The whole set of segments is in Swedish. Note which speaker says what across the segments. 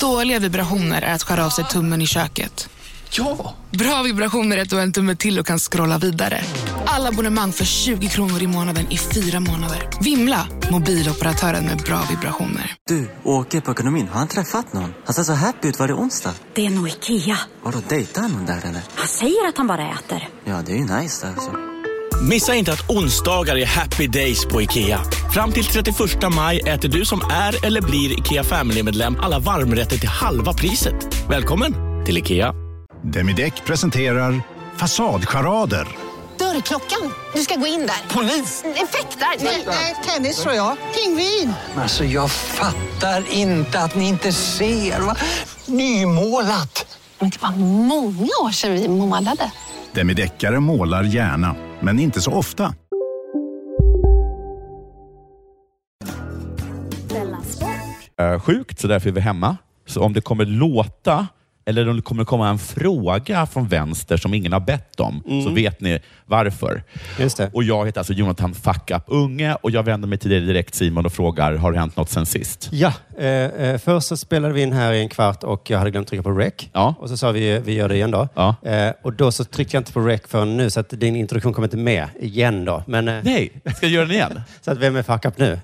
Speaker 1: Dåliga vibrationer är att skära av sig tummen i köket.
Speaker 2: Ja!
Speaker 1: Bra vibrationer är att du har en tumme till och kan scrolla vidare. Alla abonnemang för 20 kronor i månaden i fyra månader. Vimla! Mobiloperatören med bra vibrationer.
Speaker 3: Du, åker på ekonomin. Har han träffat någon? Han ser så happy ut. Var det onsdag?
Speaker 4: Det är nog Ikea.
Speaker 3: Har du dejtat någon där eller?
Speaker 4: Han säger att han bara äter.
Speaker 3: Ja, det är ju nice där alltså.
Speaker 5: Missa inte att onsdagar är happy days på IKEA. Fram till 31 maj äter du som är eller blir IKEA Family-medlem alla varmrätter till halva priset. Välkommen till IKEA.
Speaker 6: Demideck presenterar Fasadcharader.
Speaker 7: Dörrklockan. Du ska gå in där. Polis? Effektar? Nej, tennis tror jag. Pingvin.
Speaker 8: Alltså jag fattar inte att ni inte ser. Va? Nymålat!
Speaker 7: Men det var många år sedan vi målade.
Speaker 6: Demideckare målar gärna, men inte så ofta.
Speaker 9: eh, sjukt så därför är vi hemma. Så om det kommer låta eller om det kommer komma en fråga från vänster som ingen har bett om, så vet ni varför.
Speaker 10: Mm. Just det.
Speaker 9: Och Jag heter alltså Jonathan Fuck Up Unge och jag vänder mig till dig direkt Simon och frågar, har det hänt något sen sist?
Speaker 10: Ja, eh, eh, först så spelade vi in här i en kvart och jag hade glömt trycka på rec.
Speaker 9: Ja.
Speaker 10: Och så sa vi, vi gör det igen då.
Speaker 9: Ja.
Speaker 10: Eh, och då så tryckte jag inte på rec förrän nu, så att din introduktion kom inte med igen då. Men, eh,
Speaker 9: Nej, jag ska göra den igen.
Speaker 10: Så att vem är fuck up nu?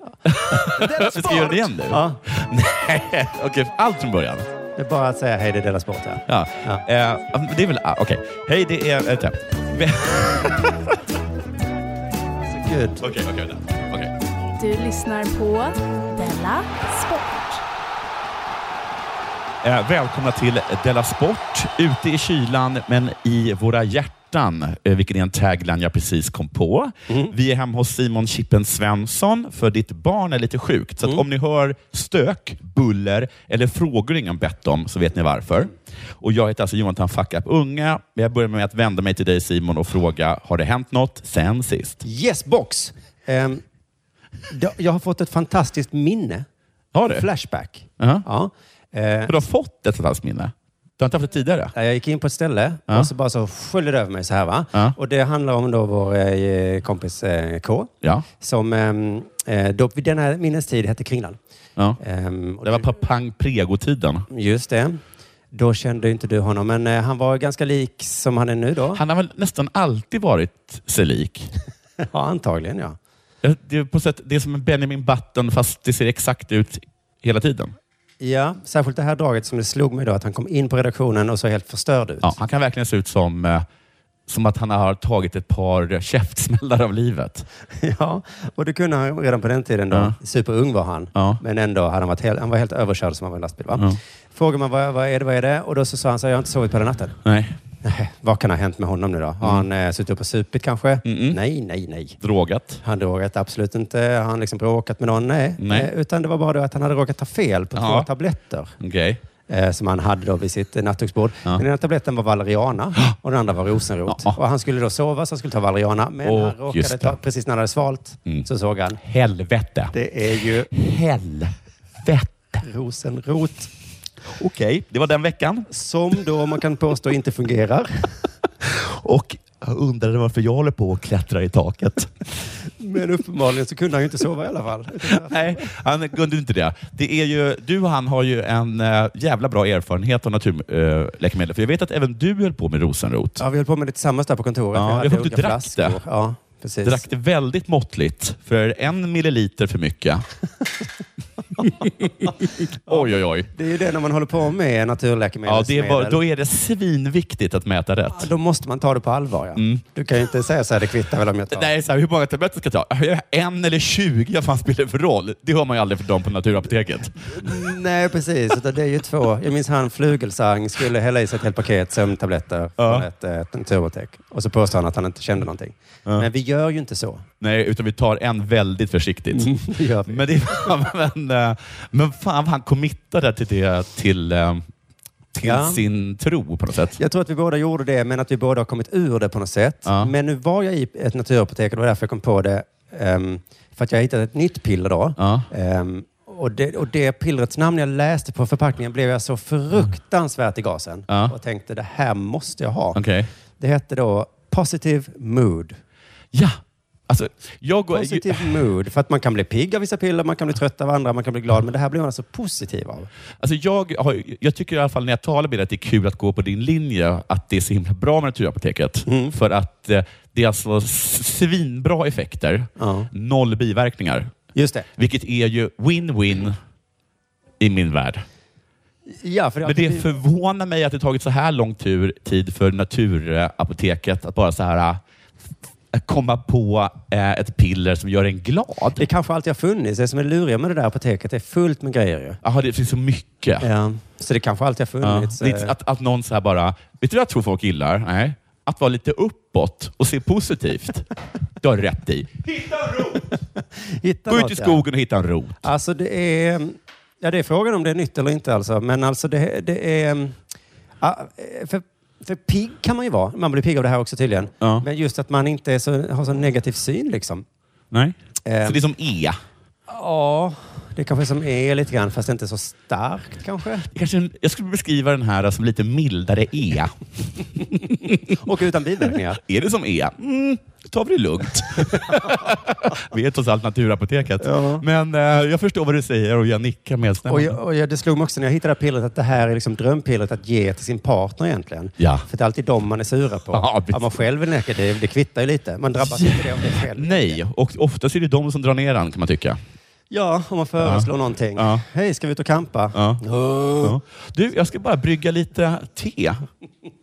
Speaker 9: Jag ska göra den igen nu.
Speaker 10: Ja,
Speaker 9: Nej, okej. Allt från början.
Speaker 10: det är bara att säga hej, det är Della Sport här.
Speaker 9: Ja.
Speaker 10: Ja.
Speaker 9: Eh, det är väl... ah, Okej. Hej, det är... eh, Vänta. Okej,
Speaker 10: Så gud.
Speaker 9: okej. vänta. Okej.
Speaker 11: Du lyssnar på Della Sport.
Speaker 9: Eh, välkomna till Della Sport. Ute i kylan, men i våra hjärtan, eh, vilket är en tagline jag precis kom på. Vi är hemma hos Simon Chippen Svensson, för ditt barn är lite sjukt. Så att om ni hör stök, buller eller frågor ingen bett om, så vet ni varför. Och Jag heter alltså Jonathan Fuck Up Unga. Jag börjar med att vända mig till dig Simon och fråga, har det hänt något sen sist?
Speaker 10: Yes, box! Ehm, då- jag har fått ett fantastiskt minne.
Speaker 9: Har du? Uh-huh.
Speaker 10: Flashback.
Speaker 9: Ja.
Speaker 10: Ja. Eh,
Speaker 9: För du har fått ett sånt här minne? Du har inte haft det tidigare?
Speaker 10: Ja, Jag gick in på ett ställe
Speaker 9: Ja.
Speaker 10: och så bara så sköljde det över mig så här. Va?
Speaker 9: Ja.
Speaker 10: Och det handlar om då vår eh, kompis eh, K.
Speaker 9: Ja.
Speaker 10: Som ehm, eh, då vid denna minnestid hette Kringlan.
Speaker 9: ja.
Speaker 10: Ehm, och
Speaker 9: Det var Papang Prego-tiden.
Speaker 10: Just det. Då kände ju inte du honom, men eh, han var ganska lik som han är nu då.
Speaker 9: Han har väl nästan alltid varit sig lik.
Speaker 10: Ja, antagligen ja.
Speaker 9: Jag- Det är, på sätt, det är som en Benjamin Button fast det ser exakt ut hela tiden.
Speaker 10: Ja, särskilt det här draget som det slog mig då, att han kom in på redaktionen och såg helt förstörd ut.
Speaker 9: Ja, han kan verkligen se ut som, eh, som att han har tagit ett par käftsmällar av livet.
Speaker 10: Ja, och det kunde han redan på den tiden. Då.
Speaker 9: Ja.
Speaker 10: Superung var han,
Speaker 9: Ja.
Speaker 10: men ändå hade han, varit helt, han var helt överkörd som han var i lastbil. Va? Frågade man vad, vad är det, vad är det? Och då så sa han så här, jag har inte sovit på den natten.
Speaker 9: Nej.
Speaker 10: Nej, vad kan ha hänt med honom nu då? Har
Speaker 9: Mm.
Speaker 10: han eh, suttit upp och supit kanske? Nej, nej, nej.
Speaker 9: Drogat.
Speaker 10: Han drogat absolut inte. Har han liksom bråkat med någon? Nej.
Speaker 9: Nej.
Speaker 10: Eh, utan det var bara då att han hade råkat ta fel på
Speaker 9: Ja.
Speaker 10: två tabletter
Speaker 9: Okej.
Speaker 10: eh, som han hade då vid sitt eh, nattduksbord. Den ena tabletten var valeriana och den andra var rosenrot.
Speaker 9: Ja.
Speaker 10: Och han skulle då sova så han skulle ta valeriana. Men
Speaker 9: Och
Speaker 10: han råkade
Speaker 9: just
Speaker 10: ta,
Speaker 9: det. Mm.
Speaker 10: precis när han hade svalt så såg han.
Speaker 9: Helvete.
Speaker 10: Det är ju
Speaker 9: Helvete.
Speaker 10: rosenrot
Speaker 9: Okej, det var den veckan.
Speaker 10: som då man kan påstå inte fungerar.
Speaker 9: Och jag undrade varför jag håller på och klättrar i taket.
Speaker 10: Men uppenbarligen så kunde han ju inte sova i alla fall.
Speaker 9: Nej, han kunde inte det. det är ju, du och han har ju en eh, jävla bra erfarenhet av naturläkemedel. För jag vet att även du höll på med rosenrot.
Speaker 10: Ja, vi höll på med det tillsammans där på kontoret.
Speaker 9: Ja,
Speaker 10: Vi hade
Speaker 9: jag hoppas du
Speaker 10: olika
Speaker 9: drack det.
Speaker 10: Ja, precis.
Speaker 9: Drack det väldigt måttligt, för en milliliter för mycket. oj, oj, oj.
Speaker 10: Det är ju det när man håller på med naturläkemedel.
Speaker 9: Ja, det är bara, då är det svinviktigt att mäta rätt.
Speaker 10: då måste man ta det på allvar. Ja. Du kan ju inte säga så här, det kvittar väl om jag tar.
Speaker 9: Mm. Nej, så här, hur många tabletter ska jag ta? En eller tjugo? Vad fan spelar det för roll? Det hör man ju aldrig för dem på naturapoteket.
Speaker 10: Nej, precis. Utan det är ju två. Jag minns han Flugelsang skulle hälla i sig ett helt paket sömntabletter från
Speaker 9: Ja.
Speaker 10: ett, ett naturbotek. Och så påstår han att han inte kände någonting. Men vi gör ju inte så.
Speaker 9: Nej, utan vi tar en väldigt försiktigt.
Speaker 10: Det gör vi.
Speaker 9: Mm. Men, det, men, eh, men fan vad han committade till, det, till, eh, till
Speaker 10: Ja.
Speaker 9: sin tro på något sätt.
Speaker 10: Jag tror att vi båda gjorde det, men att vi båda har kommit ur det på något sätt.
Speaker 9: Ja.
Speaker 10: Men nu var jag i ett naturapotek och det var därför jag kom på det. ehm, för att jag hittade ett nytt piller då.
Speaker 9: Ja.
Speaker 10: Ehm, och, det, och det pillrets namn jag läste på förpackningen blev jag så fruktansvärt i gasen.
Speaker 9: Ja.
Speaker 10: Och tänkte, det här måste jag ha.
Speaker 9: Okej.
Speaker 10: Det hette då Positive Mood.
Speaker 9: Ja, Alltså, jag går, ju,
Speaker 10: Positiv mood. För att man kan bli pigg av vissa piller, man kan bli trött av andra, man kan bli glad. Men det här blir man alltså positiv av.
Speaker 9: alltså jag, har, jag tycker i alla fall när jag talar med dig att det är kul att gå på din linje, att det är så himla bra med Naturapoteket.
Speaker 10: Mm.
Speaker 9: För att eh, det är alltså s- svinbra effekter,
Speaker 10: Ja.
Speaker 9: noll biverkningar.
Speaker 10: Just det.
Speaker 9: Vilket är ju win-win i min värld.
Speaker 10: Ja, för det,
Speaker 9: Men det förvånar mig att det tagit så här lång tur, tid för Naturapoteket att bara så här eh, komma på eh, ett piller som gör en glad.
Speaker 10: det kanske alltid har funnits. Det som är luriga med det där apoteket, det är fullt med grejer ju.
Speaker 9: Jaha, det finns så mycket.
Speaker 10: Ja. Så det kanske alltid har
Speaker 9: Ja.
Speaker 10: funnits.
Speaker 9: Det är inte
Speaker 10: eh,
Speaker 9: Att, att någon så här bara, vet du vad jag tror folk gillar? Nej. Att vara lite uppåt och se positivt. Du har rätt i.
Speaker 10: hitta
Speaker 9: Gå ut
Speaker 10: något,
Speaker 9: i
Speaker 10: ja.
Speaker 9: skogen och hitta en rot.
Speaker 10: Alltså det är... Ja, det är frågan om det är nytt eller inte alltså. Men alltså det, det är... ja, För, för pigg kan man ju vara. Man blir pigg av det här också tydligen.
Speaker 9: Ja.
Speaker 10: Men just att man inte är så, har så negativ syn liksom.
Speaker 9: Nej.
Speaker 10: Eh,
Speaker 9: Så det är som E.
Speaker 10: Ja, det kanske är som är lite grann, fast inte så starkt kanske.
Speaker 9: Det Kanske, en- jag skulle beskriva den här som lite mildare E.
Speaker 10: Och utan biverkningar.
Speaker 9: Är det som E? Mm, då tar vi det lugnt. vi är trots allt Naturapoteket.
Speaker 10: Ja.
Speaker 9: Men eh, jag förstår vad du säger och jag nickar
Speaker 10: Och,
Speaker 9: medstämmande.
Speaker 10: jag, och jag, det slog mig också när jag hittade det här pillret att det här är liksom drömpillret att ge till sin partner egentligen.
Speaker 9: Ja.
Speaker 10: För det är alltid dem man är sura på.
Speaker 9: Ja, precis.
Speaker 10: Om man själv är näkad, det, det kvittar ju lite. Man drabbas inte det om det är själv.
Speaker 9: Nej, och oftast är det de som drar ner den kan man tycka.
Speaker 10: Ja, om man föreslår någonting.
Speaker 9: Ja.
Speaker 10: Hej, ska vi ut och campa?
Speaker 9: Ja.
Speaker 10: Åh.
Speaker 9: Ja. Du, jag ska bara brygga lite te.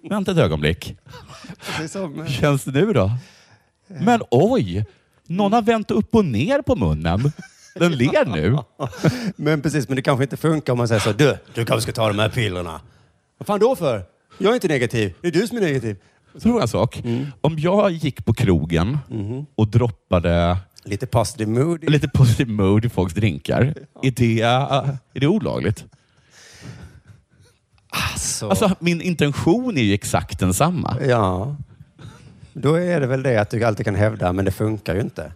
Speaker 9: Vänta ett ögonblick.
Speaker 10: Det är som,
Speaker 9: Hur känns det nu då? Men oj! Någon har vänt upp och ner på munnen. Den ler nu.
Speaker 10: men precis, men det kanske inte funkar om man säger så. Du, du kanske ska ta de här pillerna. Vad fan då för? Jag är inte negativ. Det är du som är negativ.
Speaker 9: Tror jag en sak.
Speaker 10: Mm.
Speaker 9: Om jag gick på krogen och droppade
Speaker 10: Lite positive mood.
Speaker 9: lite positiv mood i folks drinkar, är det, är det olagligt?
Speaker 10: Alltså.
Speaker 9: Alltså, min intention är ju exakt densamma.
Speaker 10: Ja. Då är det väl det att du alltid kan hävda, men det funkar ju inte.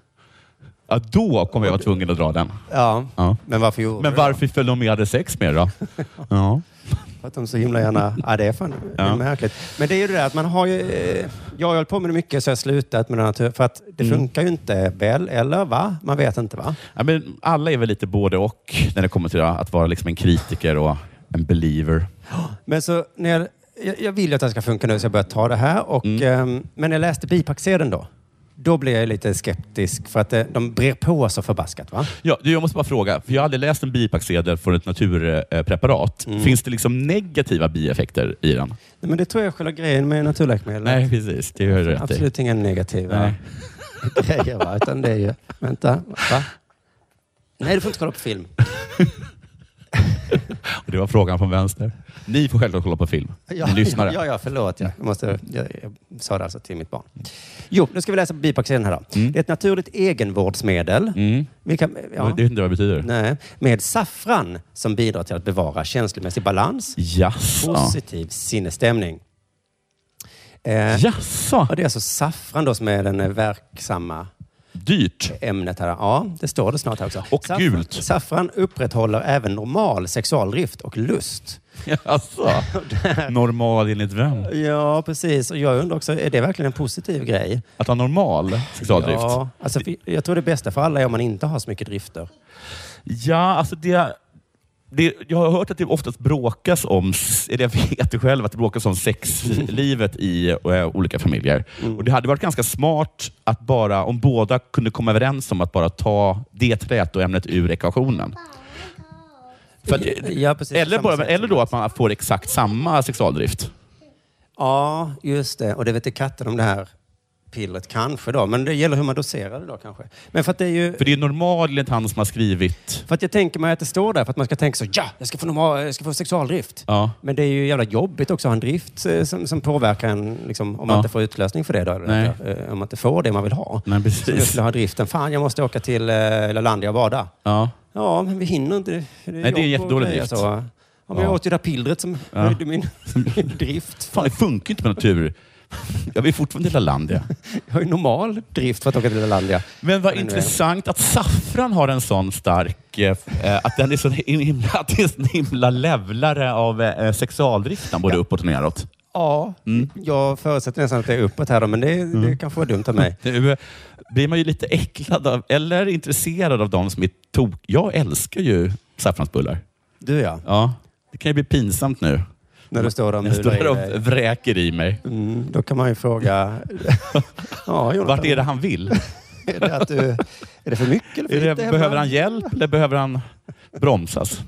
Speaker 9: Ja, då kommer jag vara tvungen att dra den.
Speaker 10: Ja,
Speaker 9: Ja.
Speaker 10: men varför gjorde
Speaker 9: Men
Speaker 10: du det?
Speaker 9: varför föll de med hade sex med då? Ja.
Speaker 10: För att de så himla gärna... Ja, det är fan det är
Speaker 9: Ja.
Speaker 10: märkligt. Men det är ju det där att man har ju... eh, Jag har hållit på med det mycket så jag har slutat med den här tur- För att det
Speaker 9: Mm.
Speaker 10: funkar ju inte väl, eller va? Man vet inte va?
Speaker 9: Ja, men alla är väl lite både och när det kommer till att vara liksom en kritiker och en believer.
Speaker 10: Men så när jag... Jag, jag vill ju att det ska funka nu så jag börjar ta det här. Och,
Speaker 9: Mm.
Speaker 10: ehm, men när jag läste bipacksedeln då. Då blev jag lite skeptisk för att eh, de brer på så förbaskat va?
Speaker 9: Ja, du, jag måste bara fråga, för jag har aldrig läst en bipacksedel från ett naturpreparat.
Speaker 10: Mm.
Speaker 9: Finns det liksom negativa bieffekter i den?
Speaker 10: Nej, Men det tror jag är själva grejen med naturläkemedel.
Speaker 9: Nej, precis. Det gör du rätt i.
Speaker 10: Absolut inga negativa
Speaker 9: Nej.
Speaker 10: grejer. Va? Utan det är ju... Vänta. Va? Nej, du får inte kolla på film.
Speaker 9: Och det var frågan från vänster. Ni får självklart kolla på film. Ni lyssnare.
Speaker 10: Ja, ja, förlåt. Jag, måste, jag, jag sa det alltså till mitt barn. Jo, nu ska vi läsa på bipacksedeln här då. Det är ett naturligt egenvårdsmedel.
Speaker 9: Mm.
Speaker 10: Vi kan,
Speaker 9: Jag
Speaker 10: ja,
Speaker 9: vet inte vad det betyder.
Speaker 10: nej, med saffran som bidrar till att bevara känslomässig balans,
Speaker 9: Jaså?
Speaker 10: positiv sinnesstämning. Eh,
Speaker 9: Jaså?
Speaker 10: och det är alltså saffran då som är den eh, verksamma
Speaker 9: Dyrt?
Speaker 10: ämnet här. Ja, det står det snart här också.
Speaker 9: Och
Speaker 10: Saffran-
Speaker 9: gult.
Speaker 10: Saffran upprätthåller även normal sexualdrift och lust.
Speaker 9: Jaså? Normal enligt vem?
Speaker 10: Ja, precis. Och jag undrar också, är det verkligen en positiv grej?
Speaker 9: Att ha normal sexualdrift?
Speaker 10: Ja, alltså, för jag tror det bästa för alla är om man inte har så mycket drifter.
Speaker 9: Ja, alltså det, det... Jag har hört att det oftast bråkas om, eller jag vet det själv, att det bråkas om sexlivet i eh, olika familjer.
Speaker 10: Mm.
Speaker 9: Och Det hade varit ganska smart att bara, om båda kunde komma överens om att bara ta det trätoämnet ur ekvationen. För att,
Speaker 10: Ja, precis.
Speaker 9: eller,
Speaker 10: Samma
Speaker 9: bara,
Speaker 10: sätt.
Speaker 9: eller då att man får exakt samma sexualdrift.
Speaker 10: Ja, just det. Och det vet inte katten om det här pillret kanske då. Men det gäller hur man doserar det då kanske. Men för att det är ju...
Speaker 9: För det är normal enligt han som har skrivit...
Speaker 10: För att jag tänker mig att det står där för att man ska tänka så ja, jag ska få, normal, jag ska få sexualdrift.
Speaker 9: Ja.
Speaker 10: Men det är ju jävla jobbigt också att ha en drift eh, som, som påverkar en liksom, om man
Speaker 9: Ja.
Speaker 10: inte får utlösning för det. Då, eller
Speaker 9: Nej.
Speaker 10: inte, eh, om man inte får det man vill ha.
Speaker 9: Nej, precis.
Speaker 10: Så jag skulle ha driften. Fan, jag måste åka till eh, Lalandia och bada.
Speaker 9: Ja.
Speaker 10: Ja, men vi hinner inte. Det är,
Speaker 9: det är
Speaker 10: jobb och
Speaker 9: jättedålig
Speaker 10: grejer,
Speaker 9: drift.
Speaker 10: Så. Ja, men
Speaker 9: Ja.
Speaker 10: Jag åt ju det där pillret som höjde min, min drift.
Speaker 9: Fan, det funkar ju inte med natur. Jag vill fortfarande till Lalandia.
Speaker 10: Jag har ju normal drift för att åka till Lalandia.
Speaker 9: Men vad
Speaker 10: Men nu är-
Speaker 9: intressant att saffran har en sån stark... eh, f- eh, Att den är så himla, att det är så himla levlare av eh, sexualdriften, både uppåt och neråt. Mm.
Speaker 10: Ja, jag förutsätter nästan att det är uppåt här då, men det, det kanske var dumt av mig.
Speaker 9: Du, eh, blir man ju lite äcklad av, eller intresserad av de som är tok... Jag älskar ju saffransbullar.
Speaker 10: Du ja,
Speaker 9: Ja. Det kan ju bli pinsamt nu.
Speaker 10: när du står och
Speaker 9: Jag står
Speaker 10: mular
Speaker 9: där
Speaker 10: i
Speaker 9: och
Speaker 10: dig.
Speaker 9: vräker i mig.
Speaker 10: Mm, då kan man ju fråga... ja, Jonathan,
Speaker 9: Vart är det han vill?
Speaker 10: Är det, att du, är det för mycket eller för
Speaker 9: Är det,
Speaker 10: lite?
Speaker 9: behöver
Speaker 10: hemma?
Speaker 9: han hjälp eller behöver han bromsas?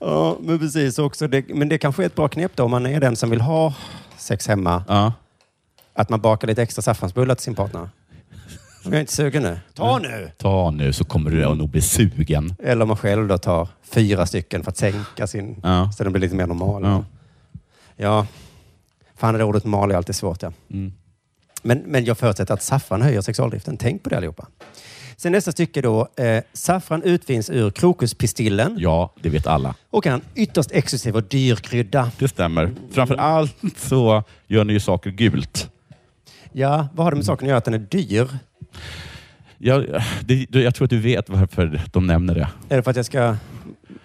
Speaker 10: Ja, men precis. Också det, men det kanske är ett bra knep då om man är den som vill ha sex hemma.
Speaker 9: Ja.
Speaker 10: Att man bakar lite extra saffransbullar till sin partner. Jag är inte sugen nu. Ta nu!
Speaker 9: Ta nu så kommer du nog bli sugen.
Speaker 10: Eller om man själv då tar fyra stycken för att sänka sin...
Speaker 9: Ja.
Speaker 10: Så den blir lite mer normal.
Speaker 9: Ja.
Speaker 10: Ja. Fan, det där ordet normal är alltid svårt. Ja.
Speaker 9: Mm.
Speaker 10: Men, men jag förutsätter att saffran höjer sexualdriften. Tänk på det allihopa. Sen nästa stycke då. Eh, saffran utvinns ur krokuspistillen
Speaker 9: Ja, det vet alla.
Speaker 10: och är en ytterst exklusiv och dyr krydda.
Speaker 9: Det stämmer. Framför allt så gör ni ju saker gult.
Speaker 10: Ja, vad har det med saken att göra att den är dyr?
Speaker 9: Jag, det, jag tror att du vet varför de nämner det.
Speaker 10: Är det för att jag ska...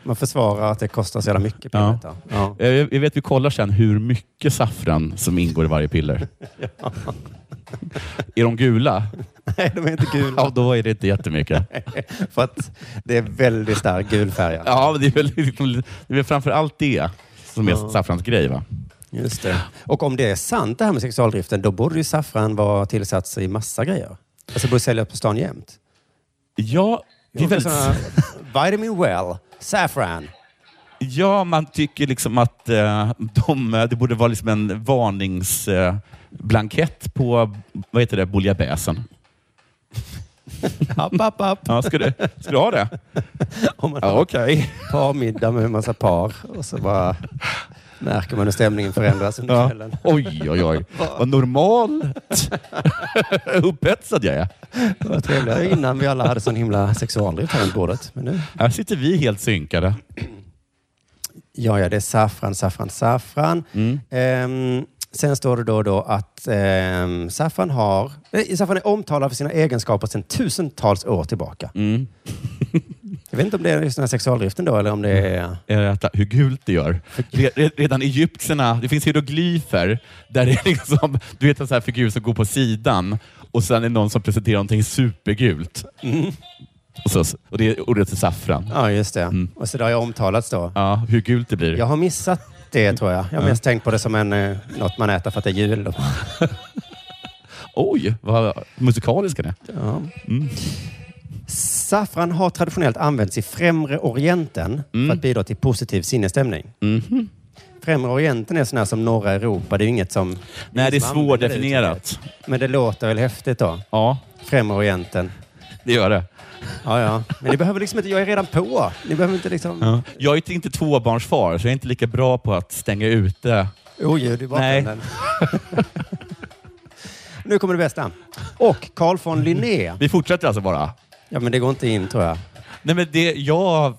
Speaker 10: Man försvarar att det kostar så jävla mycket
Speaker 9: Ja.
Speaker 10: piller? Ja. Ja.
Speaker 9: Eh, Jag jag vet, vi kollar sen hur mycket saffran som ingår i varje piller. Är de gula?
Speaker 10: Nej, de är inte gula.
Speaker 9: Ja, då är det inte jättemycket.
Speaker 10: för att det är väldigt stark gul färg. alltså. ja.
Speaker 9: Ja, men det är väl, liksom, det är väl framför allt det som är saffrans grej, va?
Speaker 10: Just det. Och om det är sant det här med sexualdriften, då borde ju saffran vara tillsats i massa grejer. Alltså borde säljas på stan jämt.
Speaker 9: Ja, det är
Speaker 10: Olika
Speaker 9: väl,
Speaker 10: sådana- vitamin well, saffran.
Speaker 9: ja, man tycker liksom att eh, de, det borde vara liksom en varningsblankett eh, blankett på, vad heter det, bouillabaisen.
Speaker 10: App, app, app.
Speaker 9: Ja, ska, du, ska du ha det?
Speaker 10: Om man
Speaker 9: Ja,
Speaker 10: har
Speaker 9: okej.
Speaker 10: par middag med en massa par och så bara märker man hur stämningen förändras under
Speaker 9: Ja.
Speaker 10: kvällen.
Speaker 9: Oj, oj, oj. Vad normalt upphetsad jag är.
Speaker 10: Det var trevligare innan vi alla hade sån himla sexualdrift här runt bordet. Men nu...
Speaker 9: Här sitter vi helt synkade.
Speaker 10: Ja, ja, det är saffran, saffran, saffran. Ehm, sen står det då, då att ehm, saffran har... Nej, saffran är omtalad för sina egenskaper sedan tusentals år tillbaka. Jag vet inte om det är just den här sexualdriften då, eller om det är...
Speaker 9: Eh, att- Hur gult det gör. Re- re- Redan egyptierna, det finns hieroglyfer där det är liksom, du vet en sån här figur som går på sidan och sen är det någon som presenterar någonting supergult. Och, så, och det är ordet är saffran.
Speaker 10: Ja, just det. Och så det har jag omtalats då.
Speaker 9: Ja, hur gult det blir.
Speaker 10: Jag har missat det, tror jag. Jag har mest tänkt på det som en, eh, något man äter för att det är jul. Då.
Speaker 9: Oj, vad musikaliska det är.
Speaker 10: Ja.
Speaker 9: Mm.
Speaker 10: Saffran har traditionellt använts i Främre Orienten
Speaker 9: Mm.
Speaker 10: för att bidra till positiv sinnesstämning. Främre Orienten är sån här som norra Europa. Det är ju inget som...
Speaker 9: Nej, det är
Speaker 10: som använder det
Speaker 9: svårdefinierat.
Speaker 10: uttrycket. Men det låter väl häftigt då?
Speaker 9: Ja,
Speaker 10: Främre Orienten.
Speaker 9: det gör det.
Speaker 10: Ja, ja. Men ni behöver liksom inte... Jag är redan på. Ni behöver inte liksom...
Speaker 9: Ja. Jag är inte tvåbarnsfar, så jag är inte lika bra på att stänga ute.
Speaker 10: Oljud Oh, i bakgrunden. nu kommer det bästa. Och Carl von Linné.
Speaker 9: Vi fortsätter alltså bara.
Speaker 10: Ja, men det går inte in tror jag.
Speaker 9: Nej, men det, jag,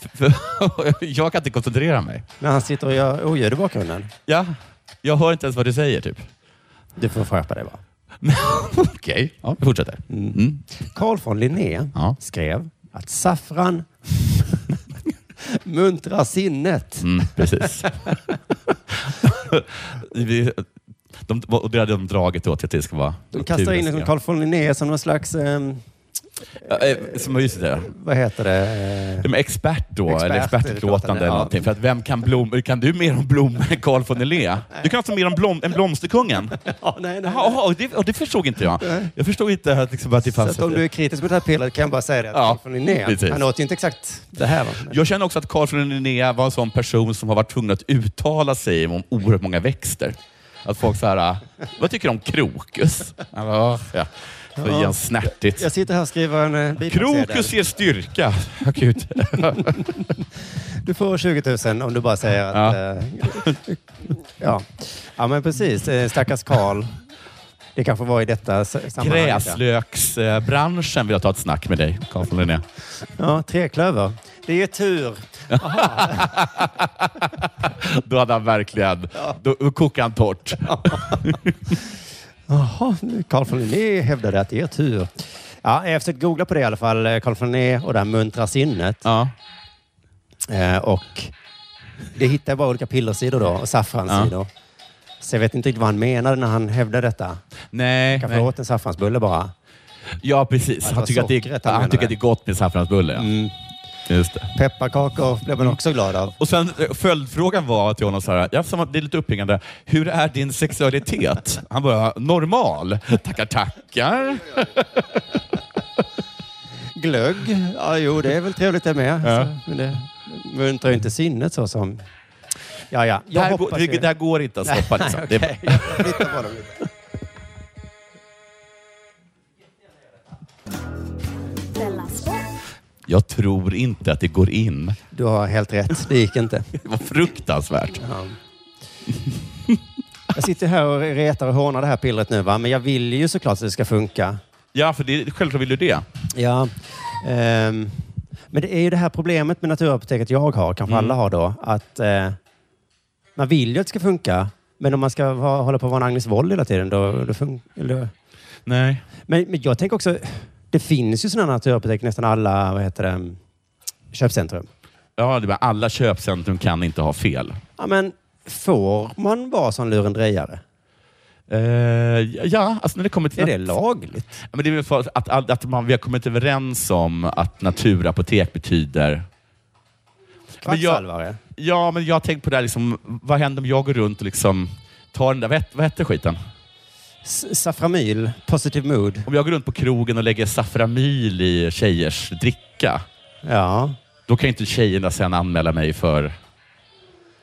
Speaker 9: jag kan inte koncentrera mig.
Speaker 10: När han sitter och gör oljud i bakgrunden.
Speaker 9: Ja, jag hör inte ens vad du säger, typ.
Speaker 10: Du får skärpa dig bara.
Speaker 9: Okej, ja, vi fortsätter. Mm.
Speaker 10: Carl von Linné
Speaker 9: Ja.
Speaker 10: skrev att saffran muntrar sinnet.
Speaker 9: Mm, precis. vi, de, och det hade de dragit åt till att det ska vara...
Speaker 10: De kastar in liksom Carl von Linné som någon slags, ehm,
Speaker 9: Eh, Som just det.
Speaker 10: vad heter det? Eh,
Speaker 9: De är expert då,
Speaker 10: Expert,
Speaker 9: eller
Speaker 10: utlåtande,
Speaker 9: expertutlåtande eller
Speaker 10: ja.
Speaker 9: någonting. För att vem kan blommor? Kan du mer om blommor än Carl von Linné? Du kan alltså mer om blom, än Blomsterkungen?
Speaker 10: Ja, nej, nej,
Speaker 9: Jaha,
Speaker 10: nej.
Speaker 9: och det, och det förstod inte jag. Jag förstod inte att, liksom, att det
Speaker 10: Så
Speaker 9: fanns...
Speaker 10: att om du är kritisk mot det här pillret kan jag bara säga det att
Speaker 9: Ja,
Speaker 10: Carl von Linné,
Speaker 9: precis.
Speaker 10: han åt ju inte exakt det här. va? Men-
Speaker 9: Jag känner också att Carl von Linné var en sån person som har varit tvungen att uttala sig om oerhört många växter. Att folk så här, "Ah, vad tycker du om krokus? Han bara, ja. Så ger han snärtigt.
Speaker 10: Jag sitter här och skriver en eh, bipacksedel.
Speaker 9: Krokus ger styrka. Ja, gud.
Speaker 10: Du får 20 000 om du bara säger att... eh, Ja, ja men precis. Eh, Stackars Carl. Det kanske var i detta s- sammanhang. ja.
Speaker 9: Gräslöksbranschen vill jag ta ett snack med dig, Carl von Linné.
Speaker 10: Ja, treklöver. Det är tur.
Speaker 9: Då hade han verkligen... Då då kokade han torrt.
Speaker 10: Jaha, Carl von Linné hävdade att det är tur. Ja, jag har försökt googla på det i alla fall. eh, Carl von Linné och det här muntra sinnet.
Speaker 9: Ja.
Speaker 10: Eh, och det hittar jag bara olika pillersidor då och saffranssidor. Så jag vet inte riktigt vad han menade när han hävdade detta.
Speaker 9: Nej.
Speaker 10: Kanske
Speaker 9: nej.
Speaker 10: åt en saffransbulle bara.
Speaker 9: Ja, precis.
Speaker 10: Att
Speaker 9: Han
Speaker 10: det
Speaker 9: tycker
Speaker 10: var
Speaker 9: att det,
Speaker 10: sockret
Speaker 9: är,
Speaker 10: han Mm.
Speaker 9: han tycker
Speaker 10: menade.
Speaker 9: att det är gott med saffransbulle. Ja. Just det.
Speaker 10: Pepparkakor blev man också glad av.
Speaker 9: Och sen eh, följdfrågan var till honom så här, jag som det är lite uppringande, hur är din sexualitet? Han bara, normal. Tackar, tackar.
Speaker 10: Glögg, ja jo det är väl trevligt det med. Så, men det muntrar ju inte sinnet så som... Ja, ja.
Speaker 9: Det
Speaker 10: Jag
Speaker 9: här, går,
Speaker 10: hoppas
Speaker 9: det,
Speaker 10: ju...
Speaker 9: det här går inte att stoppa. Liksom.
Speaker 10: Nej,
Speaker 9: Det är-
Speaker 10: okej. Jag flyttar på dem lite.
Speaker 11: Della Sport.
Speaker 9: Jag tror inte att det går in.
Speaker 10: Du har helt rätt, det gick inte.
Speaker 9: Det var fruktansvärt.
Speaker 10: Jag sitter här och retar och hånar det här pillret nu va, men jag vill ju såklart att det ska funka.
Speaker 9: Ja, för det, självklart vill du det.
Speaker 10: Ja. ehm, men det är ju det här problemet med naturapoteket jag har, kanske
Speaker 9: Mm.
Speaker 10: alla har då, att eh, man vill ju att det ska funka. Men om man ska ha, hålla på att vara en Agnes Wold hela tiden, då, då funkar
Speaker 9: Nej.
Speaker 10: men, men jag tänker också, det finns ju sådana naturapotek i nästan alla vad heter det, köpcentrum.
Speaker 9: Ja, det var, alla köpcentrum kan inte ha fel.
Speaker 10: Ja, men får man vara sån lurendrejare?
Speaker 9: Eh, ja, alltså när det kommer till...
Speaker 10: Är det lagligt?
Speaker 9: Ja, Men det är väl för att, att, att man, vi har kommit överens om att naturapotek betyder... Men jag-
Speaker 10: Kvacksalvare?
Speaker 9: Ja, men jag har tänkt på det här, liksom, vad händer om jag går runt och liksom tar den där, vad het- vad hette skiten?
Speaker 10: S- Saframyl? Positive mood?
Speaker 9: Om jag går runt på krogen och lägger Saframyl i tjejers dricka,
Speaker 10: Ja.
Speaker 9: då kan ju inte tjejerna sen anmäla mig för...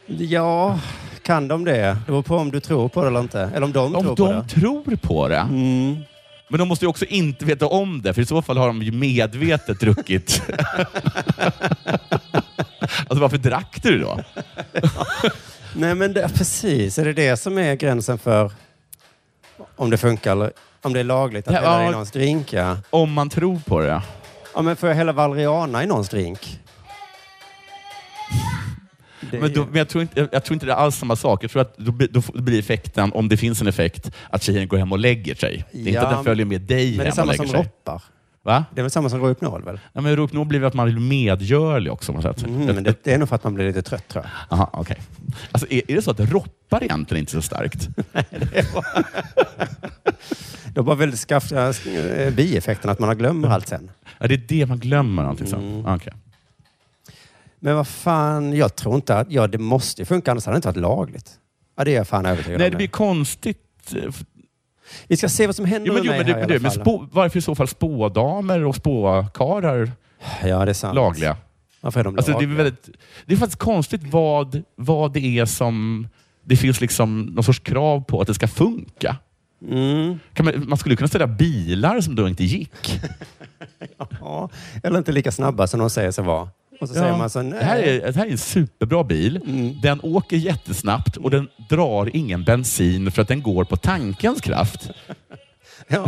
Speaker 10: Ja, kan de det? Det beror på om du tror på det eller inte. Eller om de
Speaker 9: Om
Speaker 10: tror på
Speaker 9: de
Speaker 10: det. Mm.
Speaker 9: tror på det. Men de måste ju också inte veta om det, för i så fall har de ju medvetet druckit. alltså varför drack du då?
Speaker 10: Nej, men det, precis. Är det det som är gränsen för om det funkar eller om det är lagligt att
Speaker 9: Ja,
Speaker 10: hälla
Speaker 9: ja.
Speaker 10: i någons drink? Ja.
Speaker 9: Om man tror på det.
Speaker 10: ja, men får jag hälla valeriana i någons drink? Det
Speaker 9: Men, då,
Speaker 10: är-
Speaker 9: men jag, tror inte, jag, jag tror inte det är alls samma sak. Jag tror att då, blir- då får- blir effekten, om det finns en effekt, att tjejen går hem och lägger sig. Det är inte
Speaker 10: Ja,
Speaker 9: att den följer med dig
Speaker 10: Men det är
Speaker 9: hem och
Speaker 10: samma
Speaker 9: lägger
Speaker 10: som
Speaker 9: sig.
Speaker 10: roppar.
Speaker 9: Va?
Speaker 10: Det är väl samma som Rohypnol väl?
Speaker 9: Ja, men Rohypnol blir väl att man blir medgörlig också. på något sätt.
Speaker 10: Mm, men det, det är nog för att man blir lite trött tror jag.
Speaker 9: Aha, okay. alltså, är, är det så att roppar egentligen inte så starkt?
Speaker 10: Det är bara väldigt skaffa eh, bieffekten att man har glömmer allt sen.
Speaker 9: Ja, det är det man glömmer allting sen.
Speaker 10: Mm.
Speaker 9: Okej.
Speaker 10: Men vad fan, jag tror inte att... Ja, det måste ju funka, annars hade det inte varit lagligt. Ja, det är jag fan övertygad
Speaker 9: Nej,
Speaker 10: om.
Speaker 9: det
Speaker 10: nu.
Speaker 9: blir konstigt.
Speaker 10: Vi ska se vad som händer
Speaker 9: Jo, men,
Speaker 10: med
Speaker 9: jo,
Speaker 10: mig
Speaker 9: men, det,
Speaker 10: här
Speaker 9: men, det,
Speaker 10: i alla
Speaker 9: men
Speaker 10: fall.
Speaker 9: spå, varför i så fall spådamer och spåkarlar
Speaker 10: Ja, det är sant.
Speaker 9: lagliga?
Speaker 10: Varför är de
Speaker 9: Alltså, det, är
Speaker 10: lagliga?
Speaker 9: väldigt, det är faktiskt konstigt vad, vad det är som... Det finns liksom någon sorts krav på att det ska funka.
Speaker 10: Mm.
Speaker 9: Kan man, man skulle kunna ställa bilar som då inte gick.
Speaker 10: Ja. Eller inte lika snabba som de säger sig vara. Och så säger man så, nej. Mm.
Speaker 9: det, här är, det här är en superbra bil. Den åker jättesnabbt och den drar ingen bensin för att den går på tankens kraft.
Speaker 10: Ja.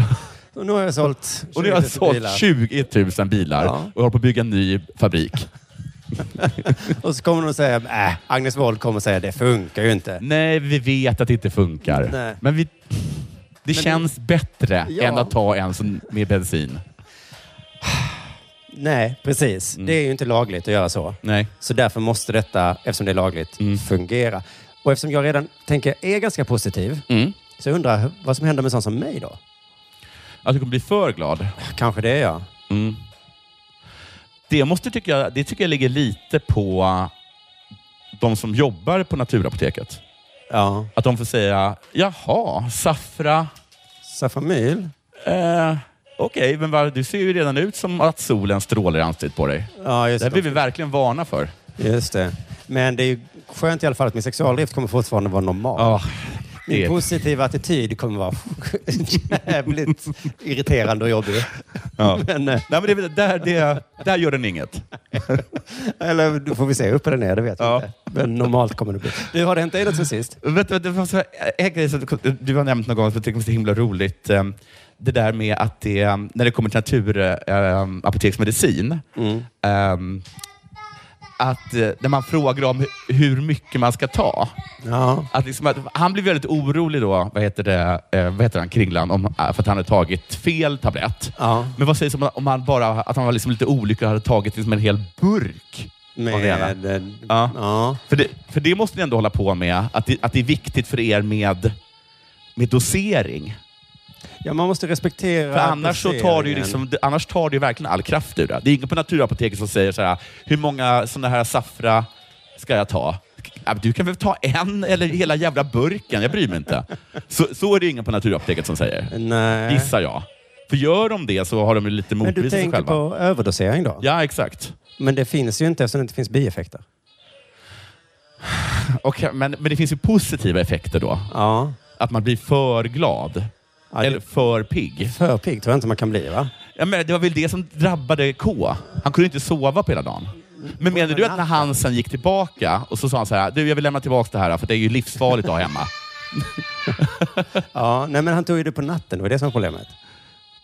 Speaker 10: Och nu har jag sålt 20
Speaker 9: Och nu har jag sålt
Speaker 10: bilar.
Speaker 9: 20 000 bilar
Speaker 10: Ja.
Speaker 9: och håller på att bygga en ny fabrik.
Speaker 10: Och så kommer de säga, äh, Agnes Wold kommer säga, det funkar ju inte.
Speaker 9: Nej, vi vet att det inte funkar.
Speaker 10: Nej.
Speaker 9: Men vi, det känns bättre
Speaker 10: Ja.
Speaker 9: än att ta en som, med bensin.
Speaker 10: Nej, precis.
Speaker 9: Mm.
Speaker 10: Det är ju inte lagligt att göra så.
Speaker 9: Nej.
Speaker 10: Så därför måste detta, eftersom det är lagligt,
Speaker 9: Mm.
Speaker 10: fungera. Och eftersom jag redan tänker är ganska positiv,
Speaker 9: Mm.
Speaker 10: så jag undrar jag vad som händer med sån som mig då?
Speaker 9: Att du kommer bli för glad.
Speaker 10: Kanske det är jag.
Speaker 9: Mm. Det, måste, tycka, jag- det tycker jag ligger lite på de som jobbar på Naturapoteket.
Speaker 10: Ja.
Speaker 9: Att de får säga, jaha, Safra,
Speaker 10: Safamil?
Speaker 9: eh, okej, men vad- du ser ju redan ut som att solen strålar i ansiktet på dig.
Speaker 10: Ja,
Speaker 9: Det
Speaker 10: just
Speaker 9: här vill
Speaker 10: det.
Speaker 9: vi verkligen varna för.
Speaker 10: Just det. Men det är ju skönt i alla fall att min sexualdrift kommer fortfarande vara normal.
Speaker 9: Ja, det
Speaker 10: min
Speaker 9: är-
Speaker 10: positiva attityd kommer vara jävligt irriterande och jobbig.
Speaker 9: Ja.
Speaker 10: Men, eh,
Speaker 9: Nej, men det, där, det, där gör den inget.
Speaker 10: eller då får vi se upp eller ner, det vet jag
Speaker 9: Ja.
Speaker 10: inte. Men normalt kommer det bli. Du, har det hänt dig något sen sist?
Speaker 9: Vet du, det var så här, en grej som du- du har nämnt någon gång som jag tycker är så himla roligt. eh, Det där med att det, eh, när det kommer till eh, naturapoteksmedicin, ehm, att eh, när man frågar om hu- hur mycket man ska ta.
Speaker 10: Ja.
Speaker 9: Att liksom, att, han blir väldigt orolig då, vad heter, det, eh, vad heter han, Kringlan, om, eh, för att han hade tagit fel tablett.
Speaker 10: Ja.
Speaker 9: Men vad sägs om, om han bara, att han var liksom lite olycklig och hade tagit liksom en hel burk? av det ena?
Speaker 10: Med, eh,
Speaker 9: Ja.
Speaker 10: ja.
Speaker 9: För det, för det måste ni ändå hålla på med, att det, att det är viktigt för er med, med dosering.
Speaker 10: Ja, man måste respektera
Speaker 9: För annars, så tar det ju
Speaker 10: placeringen.
Speaker 9: liksom, det- annars tar det ju verkligen all kraft ur det. Det är ingen på naturapoteket som säger så här, hur många sådana här saffra ska jag ta? Ja, Du kan väl ta en eller hela jävla burken, jag bryr mig inte. Så, så är det ingen på naturapoteket som säger,
Speaker 10: Nej.
Speaker 9: gissar jag. För gör de det så har de ju lite
Speaker 10: eh, Men
Speaker 9: motbevisat
Speaker 10: du
Speaker 9: sig
Speaker 10: tänker
Speaker 9: själva.
Speaker 10: på överdosering då?
Speaker 9: Ja, exakt.
Speaker 10: Men det finns ju inte eftersom det inte finns bieffekter.
Speaker 9: Okej, men, men det finns ju positiva effekter då.
Speaker 10: Ja.
Speaker 9: Att man blir för glad.
Speaker 10: det-
Speaker 9: Eller för pigg.
Speaker 10: För pigg tror jag inte man kan bli va?
Speaker 9: Ja, men det var väl det som drabbade K. Han kunde inte sova på hela dagen. Men menar du att när han sen gick tillbaka och så sa han så här, du jag vill lämna tillbaka det här för det är ju livsfarligt att ha hemma.
Speaker 10: Ja, nej men han tog ju det på natten. Det var det som var problemet.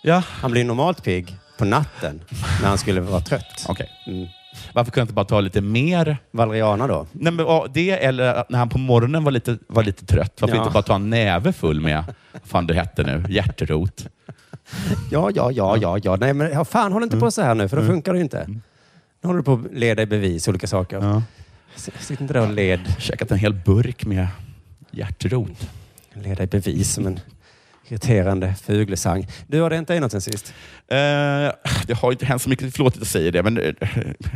Speaker 9: Ja.
Speaker 10: Han blir normalt pigg på natten när han skulle vara trött.
Speaker 9: Okej.
Speaker 10: Mm.
Speaker 9: Varför kunde jag inte bara ta lite mer?
Speaker 10: Valeriana då?
Speaker 9: Nej, men, ja, det eller att när han på morgonen var lite, var lite trött, varför
Speaker 10: Ja.
Speaker 9: inte bara ta en näve full med, vad fan det hette nu, hjärterot?
Speaker 10: Ja, ja, ja, ja, ja. Nej, men ja, fan håll
Speaker 9: Mm.
Speaker 10: inte på så här nu för då funkar det ju inte. Nu håller du på att leda i bevis olika saker.
Speaker 9: Ja.
Speaker 10: S- Sitt inte där och led,
Speaker 9: Käkat en hel burk med hjärterot.
Speaker 10: leda i bevis som en irriterande fuglesang. Du har det inte i något sen sist?
Speaker 9: Eh, det har ju inte hänt så mycket, förlåt att jag säger det, men eh,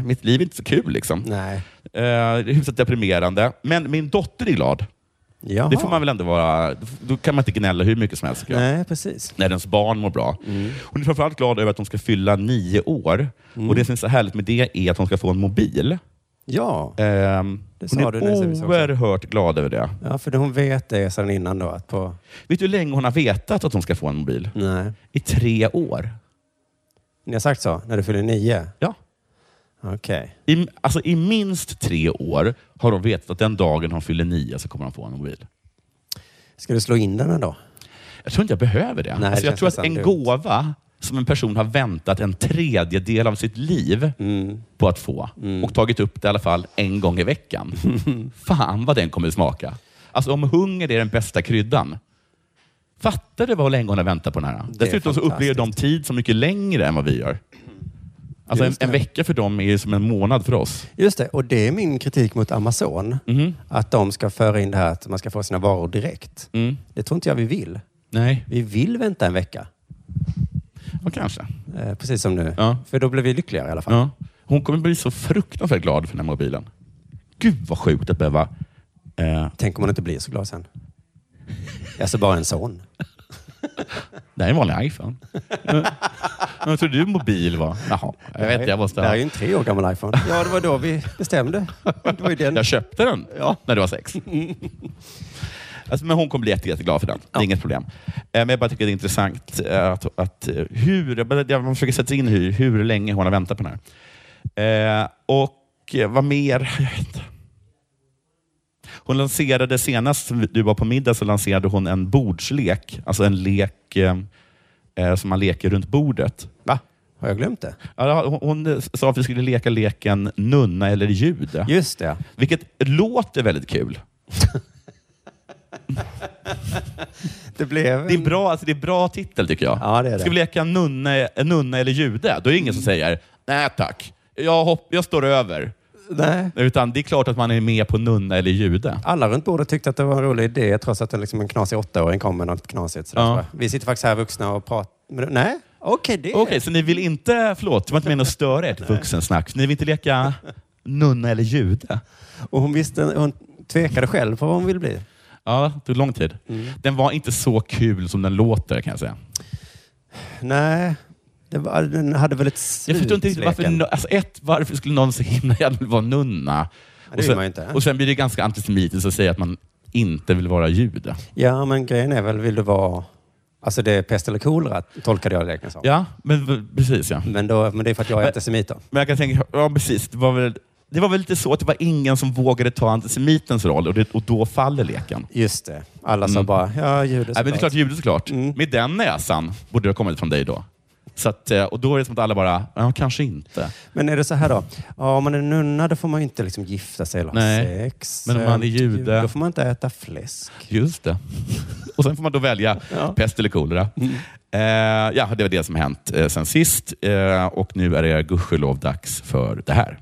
Speaker 9: mitt liv är inte så kul liksom.
Speaker 10: Nej.
Speaker 9: Eh, det är hyfsat deprimerande. Men min dotter är glad.
Speaker 10: Jaha.
Speaker 9: Det får man väl ändå vara. Då kan man inte gnälla hur mycket som helst. tycker jag.
Speaker 10: Nej, Mm. precis.
Speaker 9: När ens barn mår bra. Hon är framförallt glad över att hon ska fylla nio år.
Speaker 10: Mm.
Speaker 9: Och Det som är så härligt med det är att hon ska få en mobil.
Speaker 10: Ja.
Speaker 9: Ehm,
Speaker 10: Det
Speaker 9: hon
Speaker 10: sa
Speaker 9: är
Speaker 10: du när vi sågs också.
Speaker 9: oerhört glad över det.
Speaker 10: ja, för hon vet det sedan innan då att på...
Speaker 9: Vet du hur länge hon har vetat att hon ska få en mobil?
Speaker 10: Nej.
Speaker 9: I tre år.
Speaker 10: Ni har sagt så? När du fyller nio?
Speaker 9: Ja.
Speaker 10: Okej.
Speaker 9: I, alltså, I minst tre år har hon vetat att den dagen hon fyller nio så kommer hon få en mobil.
Speaker 10: Ska du slå in den här då?
Speaker 9: Jag tror inte jag behöver det.
Speaker 10: det
Speaker 9: alltså, jag
Speaker 10: känns
Speaker 9: tror att en
Speaker 10: nästan dumt.
Speaker 9: gåva som en person har väntat en tredjedel av sitt liv
Speaker 10: Mm.
Speaker 9: på att få och tagit upp det i alla fall en gång i veckan. Fan vad den kommer att smaka. Alltså om hunger är den bästa kryddan. Fattar du vad länge hon har väntat på den här? Dessutom så upplever de tid så mycket längre än vad vi gör. Alltså en,
Speaker 10: Just det.
Speaker 9: en vecka för dem är ju som en månad för oss.
Speaker 10: Just det, och det är min kritik mot Amazon. Att de ska föra in det här att man ska få sina varor direkt. Det tror inte jag vi vill.
Speaker 9: Nej,
Speaker 10: Vi vill vänta en vecka.
Speaker 9: och kanske.
Speaker 10: Eh, precis som nu.
Speaker 9: Ja.
Speaker 10: För då blir vi lyckligare i alla fall.
Speaker 9: Ja. Hon kommer bli så fruktansvärt glad för den här mobilen. Gud vad sjukt att behöva eh,
Speaker 10: Tänk om man inte blir så glad sen. Alltså bara en son.
Speaker 9: Det här är en vanlig iPhone. Mm. Vad tror du mobil var? Jaha, jag vet jag måste
Speaker 10: Det här
Speaker 9: ha.
Speaker 10: är ju en tre år gammal iPhone. Ja, det var då vi bestämde. Det var ju den.
Speaker 9: Jag köpte den när du var sex. Alltså, men hon kommer bli jätte, jätteglad för den. Det är inget problem. Eh, Men jag bara tycker det är intressant eh, att, att eh, hur, jag bara- jag försöker sätta sig in i hur, hur länge hon har väntat på den här. Eh, Och eh, vad mer? Jag vet inte. Hon lanserade senast du var på middag så lanserade hon en bordslek. Alltså en lek eh, eh, som man leker runt bordet.
Speaker 10: Va? Har jag glömt det?
Speaker 9: Ja, hon, hon sa att vi skulle leka leken nunna eller jude.
Speaker 10: Just det.
Speaker 9: Vilket låter väldigt kul.
Speaker 10: Det blev...
Speaker 9: Det är en bra, alltså det är en bra titel tycker jag.
Speaker 10: Mm. Ja, det är det. Mm.
Speaker 9: Ska vi leka nunna, nunna eller jude? Då är det ingen som säger nej tack, jag, hopp, jag står över.
Speaker 10: Nej.
Speaker 9: Utan det är klart att man är med på nunna eller jude.
Speaker 10: Alla runt bordet tyckte att det var en rolig idé trots att en, liksom en knasig åttaåring kom med något knasigt. Sådär,
Speaker 9: Ja.
Speaker 10: sådär. Vi sitter faktiskt här vuxna och pratar. Men, nej, okej det.
Speaker 9: Okej, så ni vill inte, förlåt, det var inte meningen att störa ert vuxensnack. Ni vill inte leka nunna eller jude?
Speaker 10: Och hon, visste, hon tvekade själv på vad hon ville bli.
Speaker 9: Ja, det tog lång tid.
Speaker 10: Mm.
Speaker 9: Den var inte så kul som den låter kan jag säga.
Speaker 10: Nej, det var, den hade väl ett
Speaker 9: Jag
Speaker 10: slut.
Speaker 9: förstår inte riktigt varför,
Speaker 10: leken.
Speaker 9: no- alltså ett, varför skulle någon så himla gärna vilja vara nunna?
Speaker 10: det
Speaker 9: och,
Speaker 10: vill
Speaker 9: sen,
Speaker 10: man ju inte.
Speaker 9: och sen blir det ganska antisemitiskt att säga att man inte vill vara jude.
Speaker 10: Ja, men grejen är väl, vill du vara... Alltså det är pest eller kolera, tolkade jag leken som.
Speaker 9: Ja, men v- precis ja.
Speaker 10: Men, då, men det är för att jag är
Speaker 9: Men-
Speaker 10: antisemit då.
Speaker 9: Men jag kan tänka, ja precis, det var väl, det var väl lite så att det var ingen som vågade ta antisemitens roll och, det, och då faller leken.
Speaker 10: Just det. Alla sa bara, ja, jude
Speaker 9: Mm. Nej, men det är
Speaker 10: såklart. Mm.
Speaker 9: klart jude såklart. Med den näsan borde det ha kommit från dig då. Så att, eh, och då är det som att alla bara, ja kanske inte.
Speaker 10: Men är det så här då? Ja, om man är nunna då får man ju inte liksom gifta sig eller ha
Speaker 9: Nej.
Speaker 10: sex.
Speaker 9: Men om man är jude-
Speaker 10: Då får man inte äta fläsk.
Speaker 9: Just det. Och sen får man då välja
Speaker 10: Ja.
Speaker 9: pest eller kolera. Eh, ja, det var det som hänt eh, sen sist eh, och nu är det gudskelov dags för det här.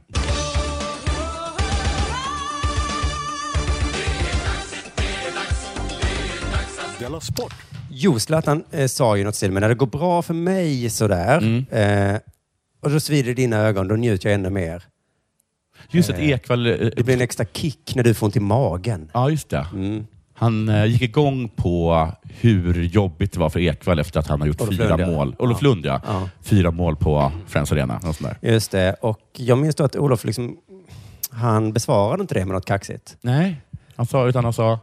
Speaker 6: Della Sport.
Speaker 10: Jo, Zlatan eh, sa ju något till men när det går bra för mig sådär
Speaker 9: Mm.
Speaker 10: eh, och då svider dina ögon, då njuter jag ännu mer.
Speaker 9: Just att Ekwall... eh,
Speaker 10: Det blir en extra kick när du får ont i magen.
Speaker 9: Ja, just det. Han eh, gick igång på hur jobbigt det var för Ekwall efter att han har gjort
Speaker 10: Olof
Speaker 9: fyra
Speaker 10: Lund, ja.
Speaker 9: mål. Olof Lund, ja.
Speaker 10: Ja.
Speaker 9: Fyra mål på Friends Arena. Något sånt där.
Speaker 10: Just det. Och jag minns då att Olof liksom, han besvarade inte det med något kaxigt.
Speaker 9: Nej, han sa, utan han sa...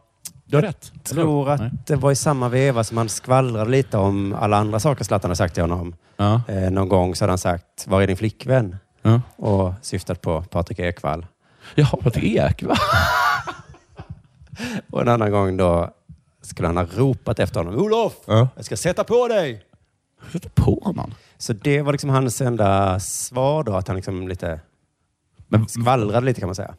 Speaker 9: Du har rätt.
Speaker 10: Jag tror
Speaker 9: Nej.
Speaker 10: att det var i samma veva som han skvallrade lite om alla andra saker Zlatan har sagt till honom.
Speaker 9: Ja.
Speaker 10: Eh, någon gång så hade han sagt, var är din flickvän?
Speaker 9: Ja.
Speaker 10: Och syftat på Patrik Ekwall.
Speaker 9: Jaha, Patrik Ekwall.
Speaker 10: Och en annan gång då skulle han ha ropat efter honom. Olof!
Speaker 9: Ja.
Speaker 10: Jag ska sätta på dig!
Speaker 9: Sätta på honom.
Speaker 10: Så det var liksom hans enda svar då, att han liksom lite
Speaker 9: Men,
Speaker 10: skvallrade lite kan man säga.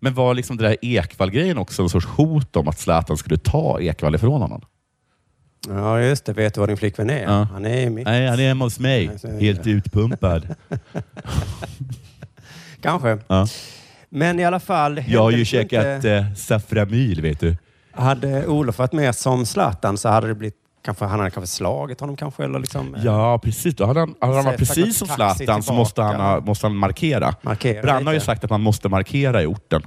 Speaker 9: men var liksom det där Ekwall-grejen också en sorts hot om att Zlatan skulle ta Ekwall ifrån honom?
Speaker 10: Ja, just det. Vet du var din flickvän är?
Speaker 9: Ja.
Speaker 10: Han är mitt.
Speaker 9: Nej, han är hemma hos mig.
Speaker 10: Nej, så är det.
Speaker 9: Helt utpumpad.
Speaker 10: Kanske.
Speaker 9: Ja.
Speaker 10: Men i alla fall.
Speaker 9: Jag har ju
Speaker 10: hände det
Speaker 9: käkat
Speaker 10: inte-
Speaker 9: eh, Saframyl, vet du.
Speaker 10: Hade Olof varit med som Zlatan så hade det blivit... Kanske, han hade kanske slagit honom kanske, eller liksom... eh,
Speaker 9: Ja, precis. Då hade han, hade han varit
Speaker 10: Sätta
Speaker 9: precis som
Speaker 10: taxi
Speaker 9: Zlatan så
Speaker 10: tillbaka.
Speaker 9: måste han, ha- måste han markera.
Speaker 10: Markera
Speaker 9: Branne har ju
Speaker 10: lite.
Speaker 9: sagt att man måste markera i orten.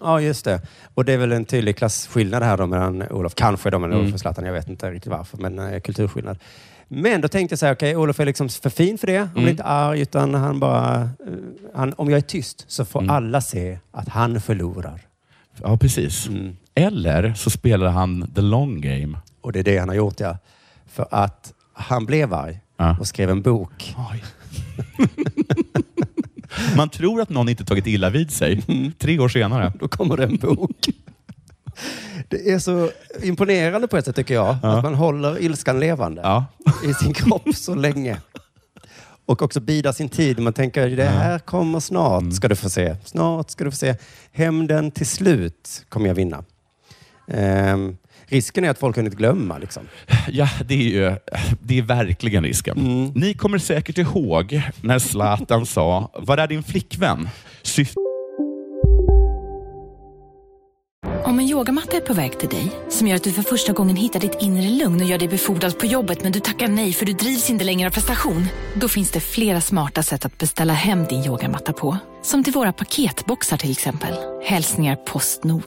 Speaker 10: Ja, just det. Och det är väl en tydlig klasskillnad här då mellan Olof, kanske då mellan
Speaker 9: Mm.
Speaker 10: Olof och Zlatan. Jag vet inte riktigt varför, men eh, kulturskillnad. Men då tänkte jag så här, okej, Olof är liksom för fin för det. Han blir
Speaker 9: Mm.
Speaker 10: inte arg, utan han bara... eh, Han, om jag är tyst så får
Speaker 9: Mm.
Speaker 10: alla se att han förlorar.
Speaker 9: Ja, precis.
Speaker 10: Mm.
Speaker 9: Eller så spelar han the long game.
Speaker 10: Och det är det han har gjort, ja. För att han blev arg
Speaker 9: Ja.
Speaker 10: och skrev en bok.
Speaker 9: Man tror att någon inte tagit illa vid sig.
Speaker 10: Mm.
Speaker 9: Tre år senare.
Speaker 10: Då kommer det en bok. Det är så imponerande på ett sätt, tycker jag. Att man håller ilskan levande.
Speaker 9: Ja.
Speaker 10: i sin kropp så länge. Och också bida sin tid. Man tänker, det här kommer
Speaker 9: Mm.
Speaker 10: snart, ska du få se. Snart ska du få se. Hämnden till slut kommer jag vinna. Ehm, risken är att folk har hunnit glömma. Liksom.
Speaker 9: Ja, det är ju det är verkligen risken.
Speaker 10: Mm.
Speaker 9: Ni kommer säkert ihåg när Zlatan sa ”Var är din flickvän?” Syftet
Speaker 4: Om en yogamatta är på väg till dig, som gör att du för första gången hittar ditt inre lugn och gör dig befordrad på jobbet men du tackar nej för du drivs inte längre av prestation. Då finns det flera smarta sätt att beställa hem din yogamatta på. Som till våra paketboxar till exempel. Hälsningar Postnord.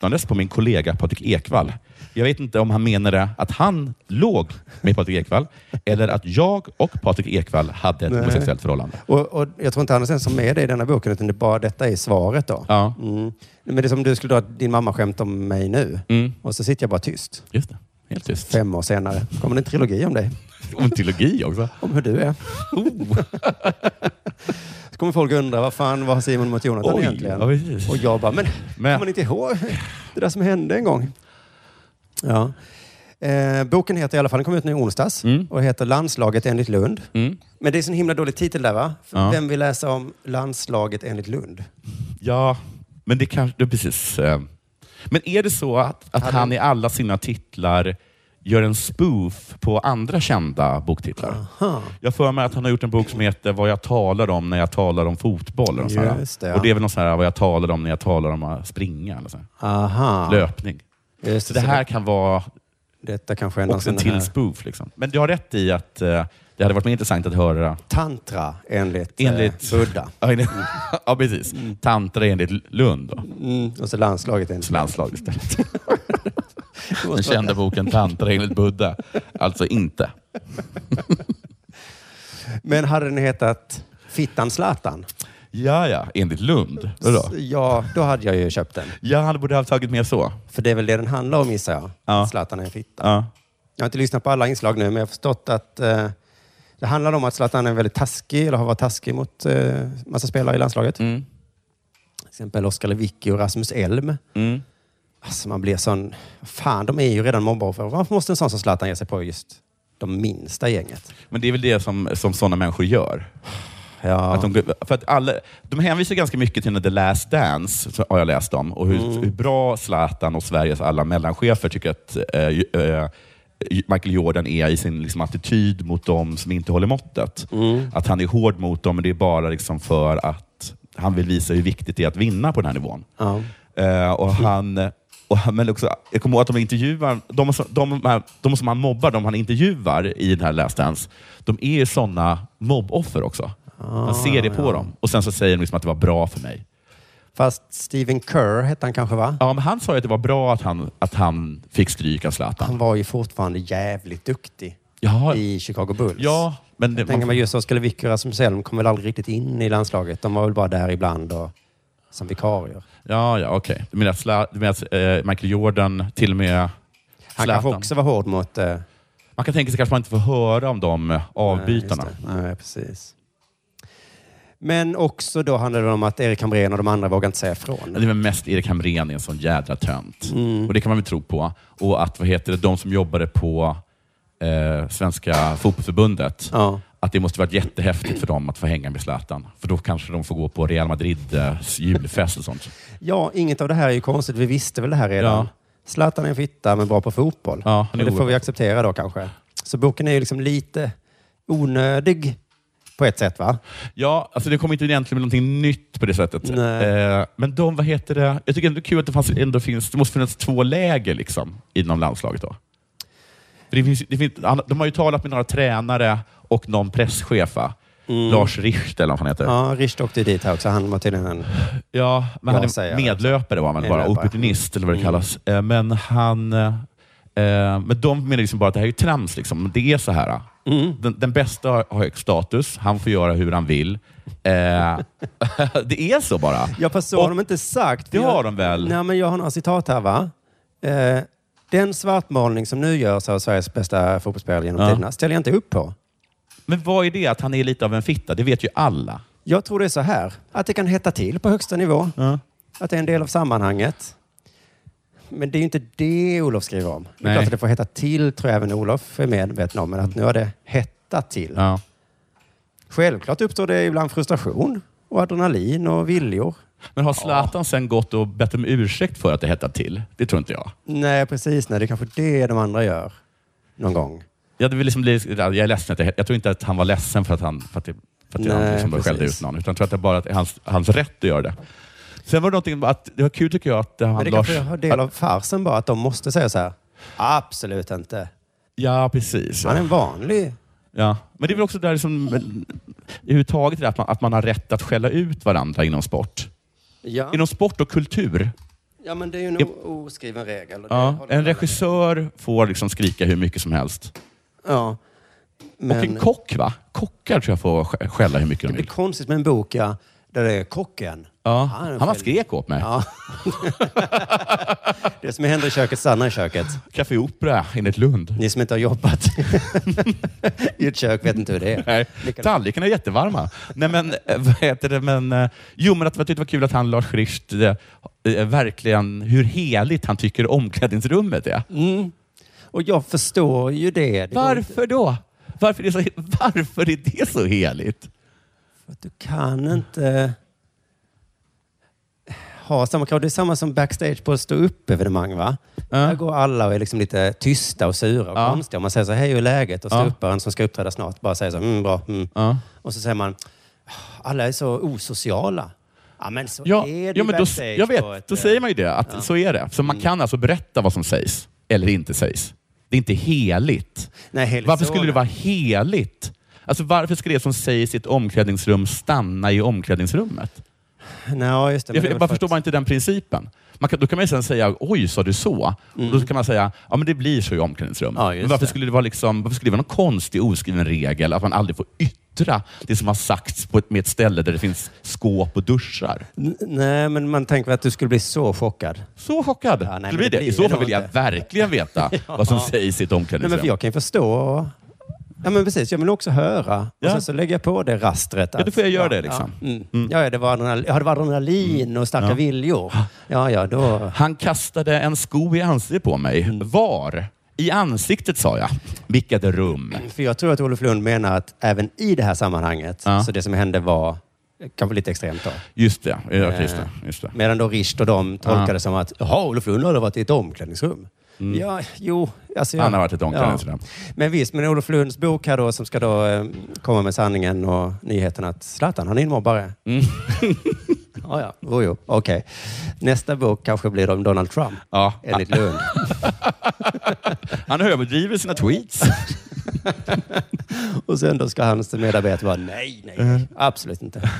Speaker 9: yttrandes på min kollega Patrik Ekwall. Jag vet inte om han menade att han låg med Patrik Ekwall eller att jag och Patrik Ekwall hade ett homosexuellt förhållande.
Speaker 10: Och, och jag tror inte han är sen som med dig i denna boken, utan det är bara detta är svaret. Då.
Speaker 9: Ja,
Speaker 10: Mm. Men det är som du skulle dra din mamma skämt om mig nu.
Speaker 9: Mm.
Speaker 10: Och så sitter jag bara tyst.
Speaker 9: just det. Helt tyst.
Speaker 10: Fem år senare kommer det en trilogi om dig.
Speaker 9: Och en trilogi också.
Speaker 10: Om hur du är.
Speaker 9: Oh,
Speaker 10: Så kommer folk undra, vad fan var Simon mot Jonathan
Speaker 9: Oj,
Speaker 10: egentligen?
Speaker 9: ja, precis.
Speaker 10: och jag bara, men,
Speaker 9: Men-
Speaker 10: kommer ni inte ihåg det där som hände en gång? Ja. Eh, boken heter i alla fall, den kom ut nu i onsdags
Speaker 9: Mm.
Speaker 10: och heter Landslaget enligt Lund. Men det är en himla dålig titel där va? För
Speaker 9: Ja.
Speaker 10: Vem vill läsa om landslaget enligt Lund?
Speaker 9: ja, men det kanske... Det är precis. eh. Men är det så att, att han i alla sina titlar gör en spoof på andra kända boktitlar? Jag för mig att han har gjort en bok som heter Vad jag talar om när jag talar om fotboll. Eller något sånt här.
Speaker 10: Just det, ja.
Speaker 9: Och det är väl något sånt här, vad jag talar om när jag talar om att springa. Eller så här.
Speaker 10: Aha.
Speaker 9: löpning.
Speaker 10: Just
Speaker 9: Så
Speaker 10: det,
Speaker 9: det här
Speaker 10: så
Speaker 9: kan vara
Speaker 10: det, detta kanske är någon
Speaker 9: också en
Speaker 10: sån
Speaker 9: till
Speaker 10: här
Speaker 9: spoof. Liksom. Men du har rätt i att eh, det hade varit mer intressant att höra
Speaker 10: tantra enligt,
Speaker 9: enligt...
Speaker 10: Eh, Buddha.
Speaker 9: Ja, enligt- ja, precis. Tantra enligt Lund. Då.
Speaker 10: Mm. Och så landslaget enligt
Speaker 9: Så landslag istället. Den
Speaker 10: Lund.
Speaker 9: kända boken Tantra enligt Buddha. Alltså inte.
Speaker 10: Men hade den hetat Fittan Zlatan?
Speaker 9: Ja, ja. Enligt Lund. Vadå?
Speaker 10: Ja, då hade jag ju köpt den.
Speaker 9: Ja, han borde ha tagit med så.
Speaker 10: För det är väl det den handlar om gissar jag.
Speaker 9: Ja.
Speaker 10: Zlatan är en fitta.
Speaker 9: Ja.
Speaker 10: Jag har inte lyssnat på alla inslag nu, men jag har förstått att eh, det handlar om att Zlatan är väldigt taskig, eller har varit taskig mot eh, massa spelare i landslaget. Till exempel Oskar Lewicki och Rasmus Elm.
Speaker 9: Mm.
Speaker 10: Alltså man blir sån... Fan, de är ju redan mobboffer. Varför måste en sån som Zlatan ge sig på just de minsta i gänget?
Speaker 9: Men det är väl det som, som sådana människor gör.
Speaker 10: Ja.
Speaker 9: Att de, går- för att alla, de hänvisar ganska mycket till The Last Dance, så har jag läst om, och hur,
Speaker 10: Mm.
Speaker 9: hur bra Zlatan och Sveriges alla mellanchefer tycker att eh, ju- eh, Michael Jordan är i sin liksom, attityd mot dem som inte håller måttet. Att han är hård mot dem, men det är bara liksom för att han vill visa hur viktigt det är att vinna på den här nivån.
Speaker 10: Ja.
Speaker 9: Eh, och han, och han, men också, jag kommer ihåg att de intervjuar, de, som- de, de, de som han mobbar, de han intervjuar i den här Last Dance, de är sådana mobboffer också. Man ser det på
Speaker 10: Ah, ja.
Speaker 9: dem. Och sen så säger de liksom att det var bra för mig.
Speaker 10: Fast Stephen Kerr hette han kanske, va?
Speaker 9: Ja, men han sa ju att det var bra att han, att han fick stryk av Zlatan.
Speaker 10: Han var ju fortfarande jävligt duktig
Speaker 9: Ja.
Speaker 10: i Chicago Bulls.
Speaker 9: Ja, men det,
Speaker 10: Jag tänker
Speaker 9: man,
Speaker 10: mig just Oskar Lewicki och Rasmus Elm kom väl aldrig riktigt in i landslaget. De var väl bara där ibland och som vikarier.
Speaker 9: ja, ja okej. Du menar att, Zla, du menar att eh, Michael Jordan till och med
Speaker 10: Han kanske också var hård mot... Eh,
Speaker 9: Man kan tänka sig kanske man inte får höra om de eh, avbytarna.
Speaker 10: Nej, just det. Nej, precis. Men också då handlade det om att Erik Hamrén och de andra vågade inte säga ifrån.
Speaker 9: Det är väl mest Erik Hamrén är en sån jädra tönt. Och det kan man väl tro på. Och att vad heter det, de som jobbade på eh, Svenska fotbollsförbundet, att det måste varit jättehäftigt för dem att få hänga med Zlatan. För då kanske de får gå på Real Madrid eh, julfest och sånt.
Speaker 10: Ja, inget av det här är ju konstigt. Vi visste väl det här redan.
Speaker 9: Ja.
Speaker 10: Zlatan är en fitta, men bra på fotboll.
Speaker 9: Ja, han är
Speaker 10: Men det får
Speaker 9: oerhört.
Speaker 10: vi acceptera då kanske. Så boken är ju liksom lite onödig på ett sätt, va?
Speaker 9: Ja, alltså det kom inte egentligen med någonting nytt på det sättet. Eh, men de, vad heter det? Jag tycker ändå kul att det, fanns, ändå finns, det måste finnas två läger liksom, inom landslaget. Då. För Det finns, det finns, han- de har ju talat med några tränare och någon presschef. va? Lars Richt eller vad han heter.
Speaker 10: Ja, Richt åkte ju dit här också. Han var tydligen en...
Speaker 9: Ja, men han
Speaker 10: Bra
Speaker 9: är
Speaker 10: sägare.
Speaker 9: medlöpare var han väl bara,
Speaker 10: Medlöpare.
Speaker 9: opportunist eller vad det kallas. Eh, Men han... eh, eh, Men de menar liksom bara att det här är ju trams. Liksom. Men Det är så här. eh. Den, den bästa har har hög status, han får göra hur han vill. Eh, det är så bara.
Speaker 10: Ja, fast så har de inte sagt.
Speaker 9: Det
Speaker 10: Jag-
Speaker 9: har de väl?
Speaker 10: Nej, men jag har några citat här, va? Eh, den svartmålning som nu görs av Sveriges bästa fotbollsspelare genom
Speaker 9: Ja.
Speaker 10: tiderna ställer jag inte upp på.
Speaker 9: Men vad är det att han är lite av en fitta? Det vet ju alla.
Speaker 10: Jag tror det är så här, att det kan hetta till på högsta nivå.
Speaker 9: Ja.
Speaker 10: Att det är en del av sammanhanget. Men det är ju inte det Olof skriver om. Det är
Speaker 9: Nej.
Speaker 10: klart att det får hetta till, tror jag även Olof är medveten om, men att nu har det hettat till.
Speaker 9: Ja.
Speaker 10: Självklart uppstår det ibland frustration och adrenalin och viljor.
Speaker 9: Men har Zlatan sen gått och bett om ursäkt för att det hettar till? Det tror inte jag.
Speaker 10: Nej, precis. Nej, det är kanske det de andra gör någon gång.
Speaker 9: Jag, vill liksom bli, jag är ledsen. Att jag, jag tror inte att han var ledsen för att han, för att det, för att
Speaker 10: Nej,
Speaker 9: han liksom
Speaker 10: precis.
Speaker 9: skällde ut någon. Utan jag tror att det bara är hans, hans rätt att göra det. Sen var det någonting med att, det var kul tycker jag att han
Speaker 10: Men det
Speaker 9: Lars...
Speaker 10: kanske är en del av farsen bara, att de måste säga så här. Absolut inte.
Speaker 9: Ja, precis.
Speaker 10: Han är
Speaker 9: Ja.
Speaker 10: en vanlig.
Speaker 9: Ja. Men det är väl också där som, men, överhuvudtaget det där att man, att man har rätt att skälla ut varandra inom sport.
Speaker 10: Ja,
Speaker 9: Inom sport och kultur.
Speaker 10: ja men det är ju en o- oskriven regel. och det
Speaker 9: Ja.
Speaker 10: har de
Speaker 9: En
Speaker 10: alla.
Speaker 9: regissör får liksom skrika hur mycket som helst.
Speaker 10: Ja.
Speaker 9: Och
Speaker 10: Men
Speaker 9: en kock, va? Kockar tror jag får sk- skälla hur mycket
Speaker 10: det
Speaker 9: de
Speaker 10: blir
Speaker 9: vill.
Speaker 10: konstigt med en bok, ja, där det är kocken.
Speaker 9: Ja.
Speaker 10: är en
Speaker 9: Han var
Speaker 10: fel-
Speaker 9: skrek åt mig.
Speaker 10: Ja. det som händer i köket stannar i köket.
Speaker 9: Café Opera enligt Lund.
Speaker 10: Ni som inte har jobbat i ett kök vet inte hur det är.
Speaker 9: Nej, tallrikarna är jättevarma. Nej, men, eh, vad heter det? Men, eh, jo, men att jag tyckte det var kul att han, Lars Richt, eh, eh, verkligen hur heligt han tycker omklädningsrummet är.
Speaker 10: Mm. Och jag förstår ju det. det går inte-
Speaker 9: Varför då? Varför är, det så, varför är det så heligt?
Speaker 10: att du kan inte ha samma krav. Det är samma som backstage på stå upp evenemang va? Där går alla och är liksom lite tysta och sura och
Speaker 9: Ja.
Speaker 10: konstiga. Om man säger så här, hej hur är läget? Och
Speaker 9: Ja.
Speaker 10: ståupparen som ska uppträda snart bara säger så här, mm, bra, mm.
Speaker 9: Ja.
Speaker 10: Och så säger man, alla är så osociala. Ja men så
Speaker 9: Ja,
Speaker 10: är det
Speaker 9: ja,
Speaker 10: ju
Speaker 9: men då,
Speaker 10: backstage
Speaker 9: jag
Speaker 10: på ett, Mm.
Speaker 9: vet, då
Speaker 10: eh,
Speaker 9: säger man ju det. Att Så är det. Så man kan alltså berätta vad som sägs eller inte sägs. Det är inte heligt.
Speaker 10: Nej, heligt
Speaker 9: varför
Speaker 10: så,
Speaker 9: skulle det
Speaker 10: nej.
Speaker 9: vara heligt? Alltså varför ska det som sägs i ett omklädningsrum stanna i omklädningsrummet?
Speaker 10: Nej, just det.
Speaker 9: Jag,
Speaker 10: men det är
Speaker 9: jag
Speaker 10: väl
Speaker 9: bara
Speaker 10: för
Speaker 9: förstår
Speaker 10: att-
Speaker 9: man inte den principen. Man kan, då kan man ju sen säga, oj, sa du så? Och då kan man säga, ja men det blir så i omklädningsrum.
Speaker 10: Mm. Ja, just
Speaker 9: men varför
Speaker 10: det.
Speaker 9: skulle det, vara liksom, varför skulle det vara någon konstig oskriven regel att man aldrig får yttra det som har sagts på ett, med ett ställe där det finns skåp och duschar.
Speaker 10: N- Nej, men man tänker att du skulle bli så chockad.
Speaker 9: Så chockad?
Speaker 10: Ja,
Speaker 9: Skulle
Speaker 10: nej, men
Speaker 9: bli
Speaker 10: det
Speaker 9: det?
Speaker 10: blir
Speaker 9: I så
Speaker 10: vi
Speaker 9: fall
Speaker 10: nog
Speaker 9: vill jag
Speaker 10: inte.
Speaker 9: verkligen veta vad som sägs i ett
Speaker 10: Nej, men för
Speaker 9: omklädningsrum.
Speaker 10: jag kan ju förstå. Ja, men precis. Jag vill också höra.
Speaker 9: Ja.
Speaker 10: Och sen så lägger jag på det rastret.
Speaker 9: Ja, då får jag göra det, liksom.
Speaker 10: Ja, mm. ja, ja, det var adrenalin, ja, det var adrenalin och starka
Speaker 9: Ja.
Speaker 10: viljor. Ja, ja, då...
Speaker 9: Han kastade en sko i ansiktet på mig.
Speaker 10: Mm.
Speaker 9: Var? I ansiktet sa jag. Vilket rum.
Speaker 10: För jag tror att Olof Lund menar att även i det här sammanhanget,
Speaker 9: Ja.
Speaker 10: så det som hände var kanske lite extremt då.
Speaker 9: Just det. Ja, just det.
Speaker 10: Eh,
Speaker 9: Just det.
Speaker 10: Medan då Rist och de tolkade
Speaker 9: Ja. Mm.
Speaker 10: det som att, jaha, Olof Lund har varit i ett omklädningsrum. Ja, jo. Alltså, ja.
Speaker 9: Han har varit i ett omklädningsrum.
Speaker 10: Ja. Men visst, men Olof Lunds bok här då som ska då eh, komma med sanningen och nyheten att Zlatan, han är en mobbare.
Speaker 9: Mm.
Speaker 10: ja, ja. Jo, jo. Okej. Nästa bok kanske blir om Donald Trump.
Speaker 9: Ja.
Speaker 10: Enligt Lund.
Speaker 9: Han överdriver sina tweets.
Speaker 10: och sen då ska hans medarbetare bara, nej, nej,
Speaker 9: Mm.
Speaker 10: nej. absolut inte.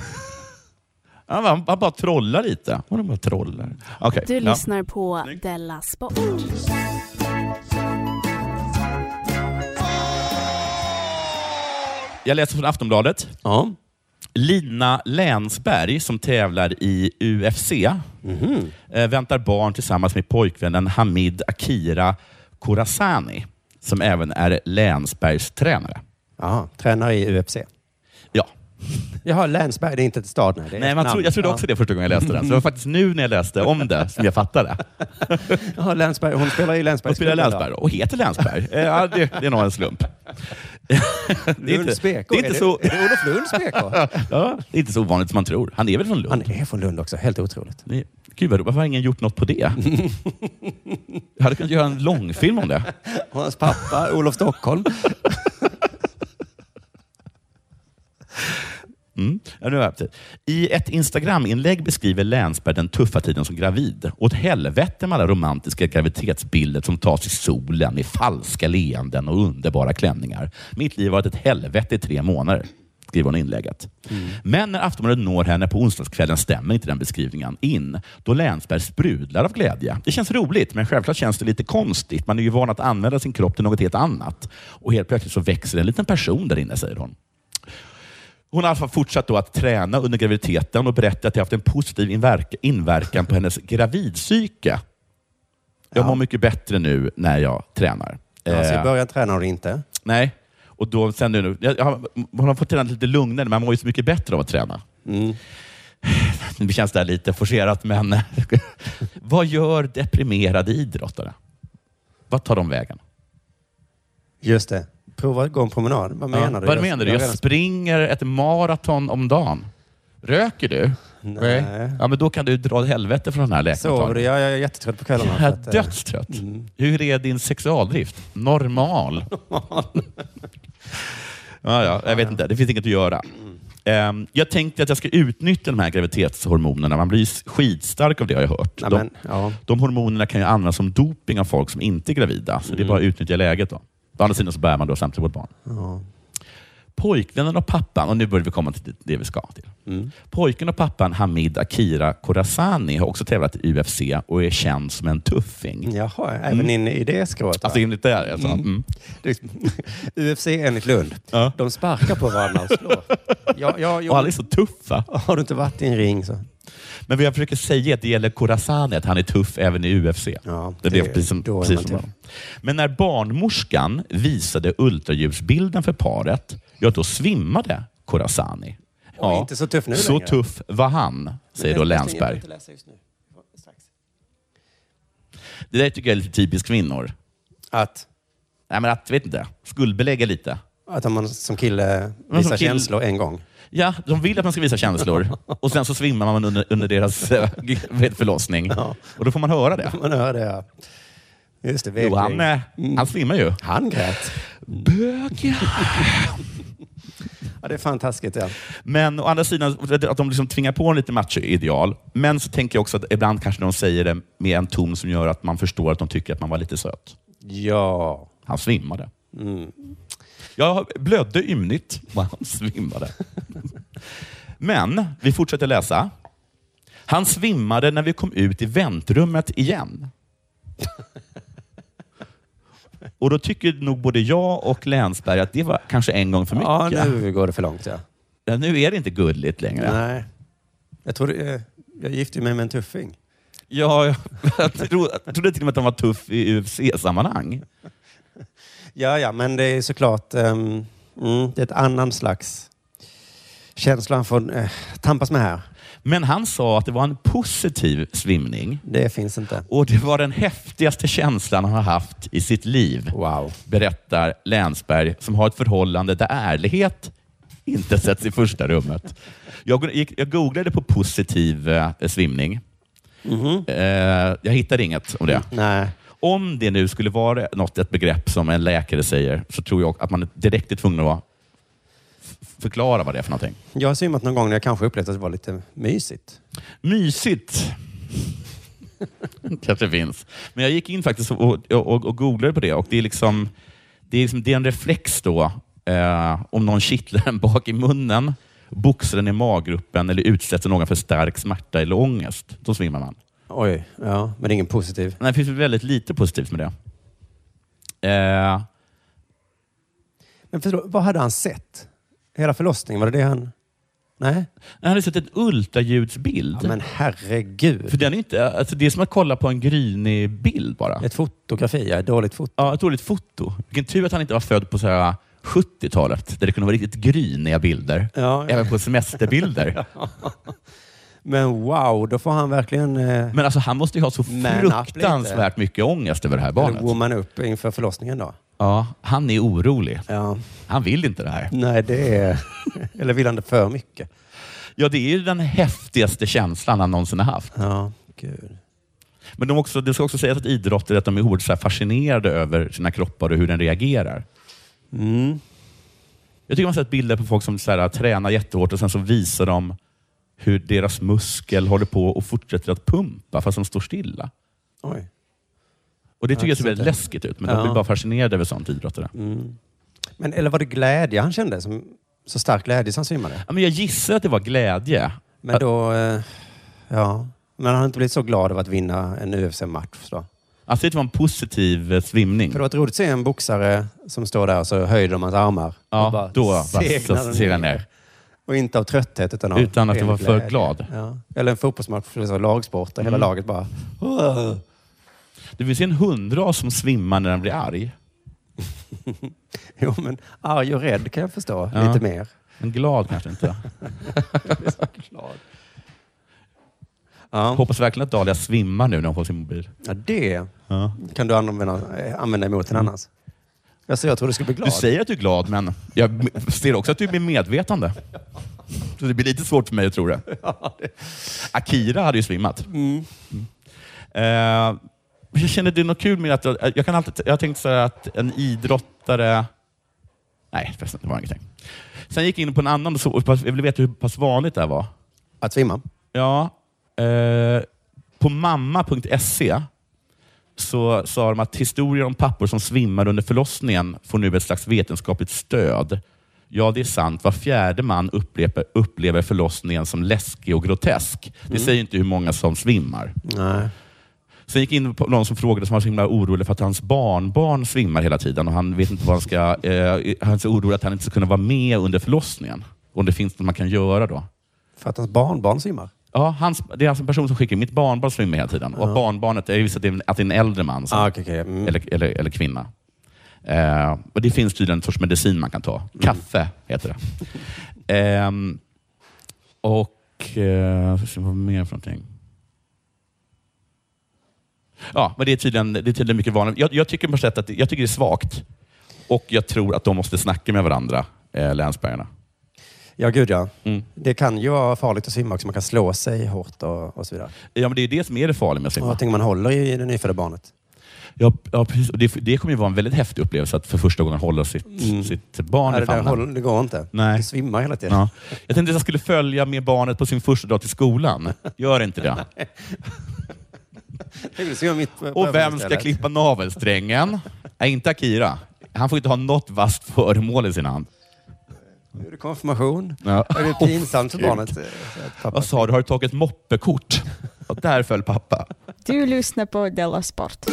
Speaker 9: Han, han, han bara trollar lite. Han bara trollar. Okej.
Speaker 11: Du
Speaker 9: ja.
Speaker 11: lyssnar på Della Sport.
Speaker 9: Jag läser från Aftonbladet.
Speaker 10: Ja.
Speaker 9: Lina Länsberg, som tävlar i UFC, eh, väntar barn tillsammans med pojkvännen Hamid Akira Khorassani, som även är Länsbergs tränare.
Speaker 10: Jaha, tränare i UFC.
Speaker 9: Ja.
Speaker 10: Jaha, Länsberg, det är inte ett stad? Nej, det är
Speaker 9: Nej,
Speaker 10: ett
Speaker 9: man tro,
Speaker 10: namn.
Speaker 9: jag trodde
Speaker 10: Ja.
Speaker 9: också det första gången jag läste den, så det var faktiskt nu när jag läste om det som jag fattade.
Speaker 10: Ja, Länsberg. Hon spelar i Länsberg.
Speaker 9: Hon spelar Länsberg och heter Länsberg. Eh, Ja, det, det är nog en slump. Det är inte,
Speaker 10: Lunds BK.
Speaker 9: det är inte så...
Speaker 10: Är det Olof Lunds BK?
Speaker 9: Ja, det är inte så ovanligt som man tror. Han är väl från Lund?
Speaker 10: Han är från Lund också. Helt otroligt.
Speaker 9: Det- Gud, vad roligt. varför har ingen gjort något på det? Jag hade kunnat göra en långfilm om det.
Speaker 10: Och hans pappa, Olof Stockholm.
Speaker 9: Mm. Ja, nu har jag haft det. I ett Instagram-inlägg beskriver Länsberg den tuffa tiden som gravid. Åt helvete med alla romantiska graviditetsbilder som tas i solen i falska leenden och underbara klänningar. Mitt liv har varit ett helvete i tre månader, skriver hon i inlägget. Men när Aftonbladet når henne på onsdagskvällen stämmer inte den beskrivningen in, då Länsberg sprudlar av glädje. Det känns roligt, men självklart känns det lite konstigt. Man är ju van att använda sin kropp till något helt annat. Och helt plötsligt så växer en liten person där inne, säger hon. Hon har i alla fall fortsatt då att träna under graviditeten och berättat att det har haft en positiv inverk- inverkan på hennes gravidpsyke. Jag mår mycket bättre nu när jag tränar.
Speaker 10: Alltså, I
Speaker 9: Eh,
Speaker 10: början tränar hon inte.
Speaker 9: nej. Och då, sen nu, jag, jag, har- hon har fått träna lite lugnare, men man mår ju så mycket bättre av att träna. Det känns där lite forcerat, men vad gör deprimerade idrottare? Vad tar de vägen?
Speaker 10: Just det. Prova att gå en promenad. Vad menar
Speaker 9: Ja,
Speaker 10: du?
Speaker 9: Vad menar du? Jag springer ett maraton om dagen. Röker du?
Speaker 10: Nej.
Speaker 9: Ja, men då kan du dra åt helvete från den här
Speaker 10: Sover du?
Speaker 9: läkarmottagningen.
Speaker 10: Ja, jag är jättetrött på kvällarna.
Speaker 9: Jag är
Speaker 10: för att, eh,
Speaker 9: dödstrött. Hur är din sexualdrift? Normal. ja, ja, jag vet inte. Det finns inget att göra. Ehm, Jag tänkte att jag ska utnyttja de här graviditetshormonerna. Man blir skitstark av det har jag hört.
Speaker 10: Ja,
Speaker 9: De,
Speaker 10: men, ja.
Speaker 9: de hormonerna kan ju användas som doping av folk som inte är gravida. Så det är bara att
Speaker 10: Mm.
Speaker 9: utnyttja läget. Då. Å andra sidan så bär man då samtidigt vårt barn.
Speaker 10: Ja.
Speaker 9: Pojkvännen och pappan, och nu börjar vi komma till det vi ska till.
Speaker 10: Mm.
Speaker 9: Pojken och pappan Hamid Akira Khorassani har också tävlat i UFC och är känd som en tuffing.
Speaker 10: Jaha, även in i det skrået. va?
Speaker 9: Alltså enligt det här, alltså. Mm.
Speaker 10: Det- UFC enligt Lund.
Speaker 9: Ja.
Speaker 10: De sparkar på varandra och slår. Ja, ja, jo.
Speaker 9: Och alla är så tuffa.
Speaker 10: Har du inte varit i en ring så...
Speaker 9: Men vad jag försöker säga är att det gäller Khorassani, att han är tuff även i UFC.
Speaker 10: Ja,
Speaker 9: det,
Speaker 10: det-
Speaker 9: är precis som,
Speaker 10: då är
Speaker 9: precis
Speaker 10: man
Speaker 9: som
Speaker 10: tuff.
Speaker 9: honom. Men när barnmorskan visade ultraljudsbilden för paret, ja då svimmade Khorassani.
Speaker 10: Oj, inte så tuff nu
Speaker 9: Så
Speaker 10: längre.
Speaker 9: tuff var han, säger då Länsberg. Det där tycker jag är lite typiskt kvinnor.
Speaker 10: Att?
Speaker 9: Nej, men att, vet inte, skuldbelägga lite.
Speaker 10: Att om man som kille
Speaker 9: Mm, som
Speaker 10: visar
Speaker 9: kille-
Speaker 10: känslor en gång.
Speaker 9: Ja, de vill att man ska visa känslor och sen så svimmar man under, under deras eh, vet, förlossning. Och då får man höra det.
Speaker 10: Man hör det, ja. Just det,
Speaker 9: Jo, han,
Speaker 10: vekling.
Speaker 9: eh, han svimmar ju.
Speaker 10: Han grät.
Speaker 9: Bök, ja.
Speaker 10: Ja, det är fantastiskt. Ja.
Speaker 9: Men å andra sidan, att de liksom tvingar på en lite macho-ideal. Men så tänker jag också att ibland kanske de säger det med en ton som gör att man förstår att de tycker att man var lite söt.
Speaker 10: ja.
Speaker 9: Han svimmade.
Speaker 10: Mm.
Speaker 9: Jag blödde ymnigt och han svimmade. Men vi fortsätter läsa. Han svimmade när vi kom ut i väntrummet igen. Och då tycker nog både jag och Länsberg att det var kanske en gång för mycket.
Speaker 10: Ja, nu går det för långt. Ja.
Speaker 9: Ja, nu är det inte gulligt längre.
Speaker 10: Nej. Jag, tror, eh, jag gifte mig med en tuffing.
Speaker 9: Ja, jag, jag, trodde, jag trodde till och med att han var tuff i UFC-sammanhang.
Speaker 10: Ja, ja, men det är såklart ehm, mm, det är ett annan slags känsla han får eh, tampas med här.
Speaker 9: Men han sa att det var en positiv svimning.
Speaker 10: Det finns inte.
Speaker 9: Och det var den häftigaste känslan han har haft i sitt liv.
Speaker 10: Wow.
Speaker 9: Berättar Länsberg som har ett förhållande där ärlighet inte sätts i första rummet. Jag, gick, jag googlade på positiv eh, svimning. Eh, jag hittade inget om det.
Speaker 10: Nej.
Speaker 9: Om det nu skulle vara något, ett begrepp som en läkare säger, så tror jag att man direkt är tvungen att vara- f- förklara vad det är för någonting.
Speaker 10: Jag har simmat någon gång när jag kanske upplevt att det var lite mysigt.
Speaker 9: Mysigt. Kanske finns. Men jag gick in faktiskt och, och, och googlade på det och det är liksom, det är, liksom, det är en reflex då eh, om någon kittlar en bak i munnen, boxar den i magruppen eller utsätter någon för stark smärta eller ångest. Då svimmar man.
Speaker 10: Oj, ja, men det är ingen positiv.
Speaker 9: Nej, det finns väl väldigt lite positivt med det. Eh,
Speaker 10: Men förlåt, vad hade han sett? Hela förlossningen, var det det han... Nej?
Speaker 9: jag hade sett en ultraljudsbild.
Speaker 10: Ja, men herregud.
Speaker 9: För den är inte, alltså det är som att kolla på en grynig bild bara.
Speaker 10: Ett fotografi, ja. Ett dåligt foto.
Speaker 9: Ja, ett dåligt foto. Vilken tur att han inte var född på så här 70-talet, där det kunde vara riktigt gryniga bilder.
Speaker 10: Ja.
Speaker 9: Även på semesterbilder.
Speaker 10: Men wow, då får han verkligen... Eh,
Speaker 9: Men alltså, han måste ju ha så
Speaker 10: Man up lite.
Speaker 9: fruktansvärt mycket ångest över det här
Speaker 10: eller
Speaker 9: barnet.
Speaker 10: woman upp inför förlossningen då.
Speaker 9: Ja, han är orolig.
Speaker 10: Ja.
Speaker 9: Han vill inte det här.
Speaker 10: Nej, det är... eller vill han det för mycket?
Speaker 9: Ja, det är ju den häftigaste känslan han någonsin har haft.
Speaker 10: Ja, gud.
Speaker 9: Men de också, det ska också sägas att idrottare att de är oerhört så här fascinerade över sina kroppar och hur den reagerar.
Speaker 10: Mm.
Speaker 9: Jag tycker man har sett bilder på folk som så här, äh, tränar jättehårt och sen så visar de hur deras muskel håller på och fortsätter att pumpa fast de står stilla.
Speaker 10: Oj.
Speaker 9: Och Det tycker
Speaker 10: Ja,
Speaker 9: jag ser väldigt
Speaker 10: sånt där.
Speaker 9: läskigt ut, men
Speaker 10: Ja. Mm.
Speaker 9: de blir bara fascinerade över sånt, idrottare.
Speaker 10: Men, eller var det glädje han kände? Som, så stark glädje som han svimmade?
Speaker 9: Ja, men jag gissar att det var glädje.
Speaker 10: Men då... Eh, ja. Men han har inte blivit så glad över att vinna en UFC-match då?
Speaker 9: Alltså det var en positiv eh, svimning.
Speaker 10: För det var ett roligt att se en boxare som står där och så höjer de hans armar.
Speaker 9: Ja,
Speaker 10: och bara
Speaker 9: då bara
Speaker 10: segnar
Speaker 9: så
Speaker 10: den
Speaker 9: seglar den ner.
Speaker 10: Och inte av trötthet utan av
Speaker 9: Utan att
Speaker 10: ren
Speaker 9: de var för
Speaker 10: glädje.
Speaker 9: glad. Mm.
Speaker 10: Ja. Eller en fotbollsmatch, för det var lagsport där hela laget bara... "Åh."
Speaker 9: Det finns ju en hundras som svimmar när den blir arg.
Speaker 10: Jo, men arg och rädd kan jag förstå
Speaker 9: Ja.
Speaker 10: lite mer.
Speaker 9: Men glad kanske inte.
Speaker 10: Ja.
Speaker 9: Hoppas verkligen att Dahlia svimmar nu när hon får sin mobil.
Speaker 10: ja, det
Speaker 9: Ja.
Speaker 10: kan du använda, eh, använda emot en annans. Alltså, jag tror du skulle bli glad.
Speaker 9: Du säger att du är glad, men jag ser också att du blir medvetande. Så det blir lite svårt för mig att tro det. Akira hade ju svimmat. Mm. Eh, jag känner det är något kul med att jag, jag kan alltid, jag tänkte så här att en idrottare... Nej, förresten, det var ingenting. Sen gick jag in på en annan och så, och jag ville veta hur pass vanligt det här var.
Speaker 10: Att svimma?
Speaker 9: Ja, eh, på mamma.se E så sa de att historier om pappor som svimmar under förlossningen får nu ett slags vetenskapligt stöd. Ja, det är sant. Var fjärde man upplever, upplever förlossningen som läskig och grotesk. Det säger inte hur många som svimmar.
Speaker 10: Nej.
Speaker 9: Sen gick jag in på någon som frågade som var så himla orolig för att hans barnbarn svimmar hela tiden och han vet inte vad han ska... Eh, han är så orolig att han inte ska kunna vara med under förlossningen. Om det finns något man kan göra då.
Speaker 10: För att hans barnbarn svimmar?
Speaker 9: Ja, hans, det är alltså en person som skickar mitt barnbarn svimmar hela tiden. Och barnbarnet, jag visste att det är en, att det är en äldre man som,
Speaker 10: Ah, okej, okej. Mm.
Speaker 9: eller, eller, eller kvinna. Eh, och Det finns tydligen en sorts medicin man kan ta.
Speaker 10: Mm.
Speaker 9: Kaffe heter det. Ehm, och... Eh, ska se vad mer för någonting? Ja, men det är tydligen, det är tydligen mycket vanligt. Jag, jag, tycker på sätt att, det- jag tycker det är svagt. Och jag tror att de måste snacka med varandra, eh, länsbergarna.
Speaker 10: Ja, gud ja.
Speaker 9: Mm.
Speaker 10: Det kan ju vara farligt att svimma också. Man kan slå sig hårt och, och så vidare.
Speaker 9: Ja, men det är ju det som är det farliga med att simma.
Speaker 10: Och jag tänker man håller i det nyfödda barnet.
Speaker 9: Ja, ja precis. Och det, det kommer ju vara en väldigt häftig upplevelse att för första gången hålla sitt, sitt barn
Speaker 10: Nej,
Speaker 9: i
Speaker 10: det, där
Speaker 9: famnen.
Speaker 10: håller, det går inte.
Speaker 9: Nej.
Speaker 10: Det svimmar hela tiden.
Speaker 9: Ja. Jag tänkte att jag skulle följa med barnet på sin första dag till skolan. Gör inte det.
Speaker 10: Det vill säga mitt på-
Speaker 9: Och vem ska
Speaker 10: istället.
Speaker 9: klippa navelsträngen? Nej, inte Akira. Han får inte ha något vasst föremål i sin hand.
Speaker 10: Nu är det konfirmation.
Speaker 9: Ja.
Speaker 10: Det är pinsamt för
Speaker 9: Åh,
Speaker 10: barnet.
Speaker 9: gud.
Speaker 10: eh, att pappa-
Speaker 9: Vad sa du? Har du tagit moppekort? Och där föll pappa.
Speaker 12: Du lyssnar på Della Sport.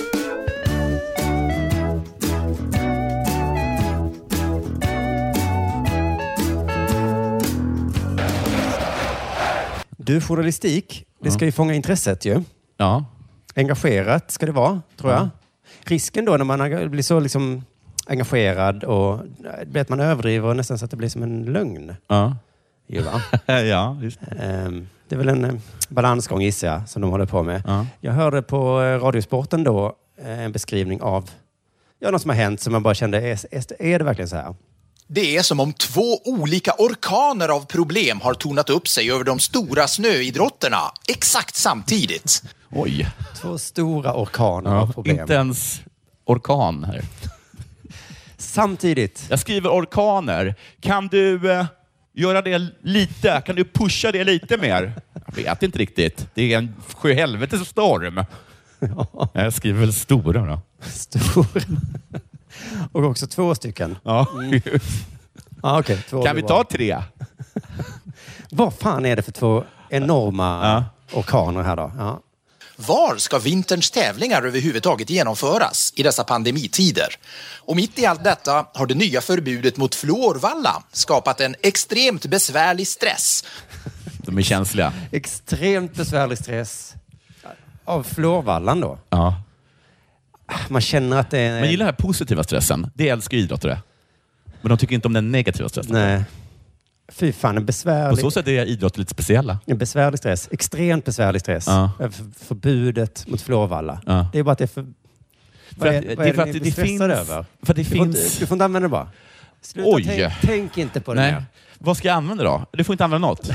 Speaker 10: Du, journalistik, det ska ju fånga intresset ju.
Speaker 9: Ja.
Speaker 10: Engagerat ska det vara, tror jag.
Speaker 9: Ja.
Speaker 10: Risken då när man enga- blir så liksom engagerad och det blir att man överdriver och nästan så att det blir som en lögn.
Speaker 9: Ja.
Speaker 10: Ju, va?
Speaker 9: ja, just
Speaker 10: Ehm, Det är väl en eh, balansgång gissar jag, som de håller på med. Jag hörde på eh, Radiosporten då eh, en beskrivning av ja, något som har hänt som man bara kände, är, är- är det verkligen så här?
Speaker 12: Det är som om två olika orkaner av problem har tornat upp sig över de stora snöidrotterna exakt samtidigt.
Speaker 9: Oj.
Speaker 10: Två stora orkaner
Speaker 9: Ja,
Speaker 10: av problem.
Speaker 9: Inte ens orkan här.
Speaker 10: Samtidigt.
Speaker 9: Jag skriver orkaner. Kan du eh, göra det lite? Kan du pusha det lite mer? Jag vet inte riktigt. Det är en sjuhelvetes storm. Jag skriver väl stora då.
Speaker 10: Stor. Och också två stycken.
Speaker 9: Ja,
Speaker 10: ah, okay. två
Speaker 9: Kan vi
Speaker 10: blir
Speaker 9: ta
Speaker 10: bra.
Speaker 9: tre?
Speaker 10: Vad fan är det för två enorma orkaner här då? Ja.
Speaker 12: Var ska vinterns tävlingar överhuvudtaget genomföras i dessa pandemitider? Och mitt i allt detta har det nya förbudet mot fluorvalla skapat en extremt besvärlig stress.
Speaker 9: De är känsliga.
Speaker 10: Extremt besvärlig stress. Av Flårvallan då?
Speaker 9: Ja.
Speaker 10: Man känner att det är...
Speaker 9: Man gillar den här positiva stressen. Det älskar ju idrottare. Men de tycker inte om den negativa stressen.
Speaker 10: Nej. Fy fan, en
Speaker 9: På
Speaker 10: besvärlig,
Speaker 9: så sätt är idrott lite speciella.
Speaker 10: en besvärlig stress. Extremt besvärlig stress.
Speaker 9: Ja.
Speaker 10: För- Förbudet mot Flårvalla.
Speaker 9: Ja.
Speaker 10: Det är bara att det är för... Vad
Speaker 9: att-
Speaker 10: är, vad är det, ni blir stressade över?
Speaker 9: För att det
Speaker 10: du, får
Speaker 9: finns...
Speaker 10: inte, du får inte använda det bara. Sluta
Speaker 9: Oj.
Speaker 10: Tänk, tänk inte på det
Speaker 9: Nej.
Speaker 10: mer.
Speaker 9: Vad ska jag använda då? Du får inte använda något.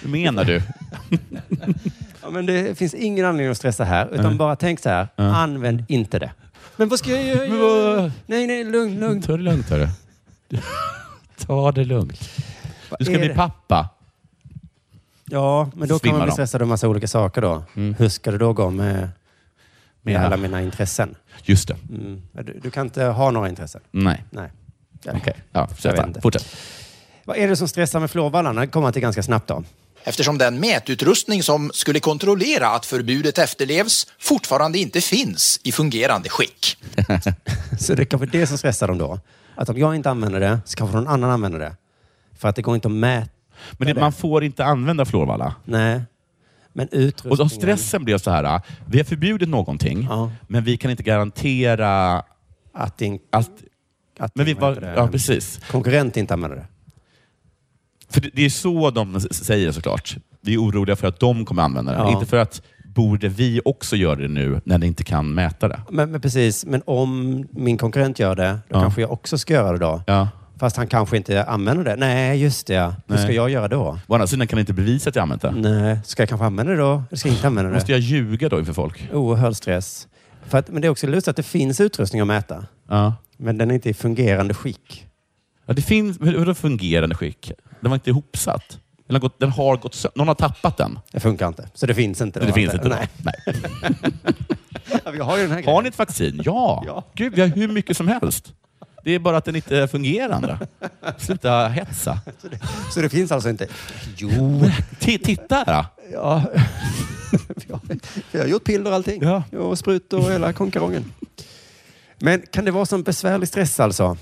Speaker 9: Hur menar du?
Speaker 10: Ja, men det finns ingen anledning att stressa här, utan
Speaker 9: Nej.
Speaker 10: bara tänk så här.
Speaker 9: Ja.
Speaker 10: Använd inte det. Men vad ska jag göra? Nej, nej, lugn, lugn.
Speaker 9: Ta det lugnt, hörru. Ta det lugnt. Du ska
Speaker 10: är
Speaker 9: bli
Speaker 10: det?
Speaker 9: pappa.
Speaker 10: Ja, men då kan
Speaker 9: Svimmar
Speaker 10: man bli
Speaker 9: de.
Speaker 10: stressad av massa olika saker då.
Speaker 9: Mm.
Speaker 10: Hur ska det då gå med, med
Speaker 9: Mina.
Speaker 10: alla mina intressen?
Speaker 9: Just det.
Speaker 10: Mm. Ja, Du, du kan inte ha några intressen?
Speaker 9: Nej.
Speaker 10: Nej. Ja.
Speaker 9: Okej. Ja,
Speaker 10: Jag vet
Speaker 9: fortsätt.
Speaker 10: inte.
Speaker 9: fortsätt.
Speaker 10: Vad är det som stressar med flårvallarna? Det kommer man till ganska snabbt då.
Speaker 12: Eftersom den mätutrustning som skulle kontrollera att förbudet efterlevs fortfarande inte finns i fungerande skick.
Speaker 10: Så det är kanske det som stressar dem då. Att om jag inte använder det så kanske någon annan använder det. För att det går inte att mäta.
Speaker 9: Men det, man får inte använda florvalla.
Speaker 10: Nej. Men utrustningen...
Speaker 9: Och då stressen blev så här. Vi har förbjudit någonting, men vi kan inte garantera
Speaker 10: att... In,
Speaker 9: att men vi var, ja, precis.
Speaker 10: Konkurrent inte använder det.
Speaker 9: För det, det är så de s- säger såklart. Vi är oroliga för att de kommer använda det.
Speaker 10: Ja.
Speaker 9: Inte för att borde vi också göra det nu när det inte kan mäta det.
Speaker 10: Men, men precis, men om min konkurrent gör det, då
Speaker 9: Ja.
Speaker 10: kanske jag också ska göra det då.
Speaker 9: Ja.
Speaker 10: Fast han kanske inte använder det. Nej, just det. ja. Hur
Speaker 9: Nej.
Speaker 10: ska jag göra då?
Speaker 9: Å andra sidan kan jag inte bevisa att jag använt det.
Speaker 10: Nej, ska jag kanske använda det då? Eller ska jag inte använda det?
Speaker 9: Måste jag ljuga då inför folk?
Speaker 10: Oerhörd stress. För att, men det är också lustigt att det finns utrustning att mäta.
Speaker 9: Ja.
Speaker 10: Men den är inte i fungerande skick.
Speaker 9: ja det finns, hur, hur fungerande skick? Den var inte ihopsatt. Den har gått, den har gått sö- Någon har tappat den.
Speaker 10: Det funkar inte. Så det finns inte.
Speaker 9: Det, finns inte.
Speaker 10: Nej.
Speaker 9: Nej.
Speaker 10: Vi har ju den här
Speaker 9: Har ni ett vaccin? Ja. Gud, vi har hur mycket som helst. Det är bara att den inte är fungerande. Sluta hetsa.
Speaker 10: Så det finns alltså inte? Jo.
Speaker 9: Ti- Titta här.
Speaker 10: Ja. vi, har, vi har gjort piller och allting.
Speaker 9: Ja.
Speaker 10: Och sprut och hela konkarongen. Men kan det vara sån besvärlig stress alltså?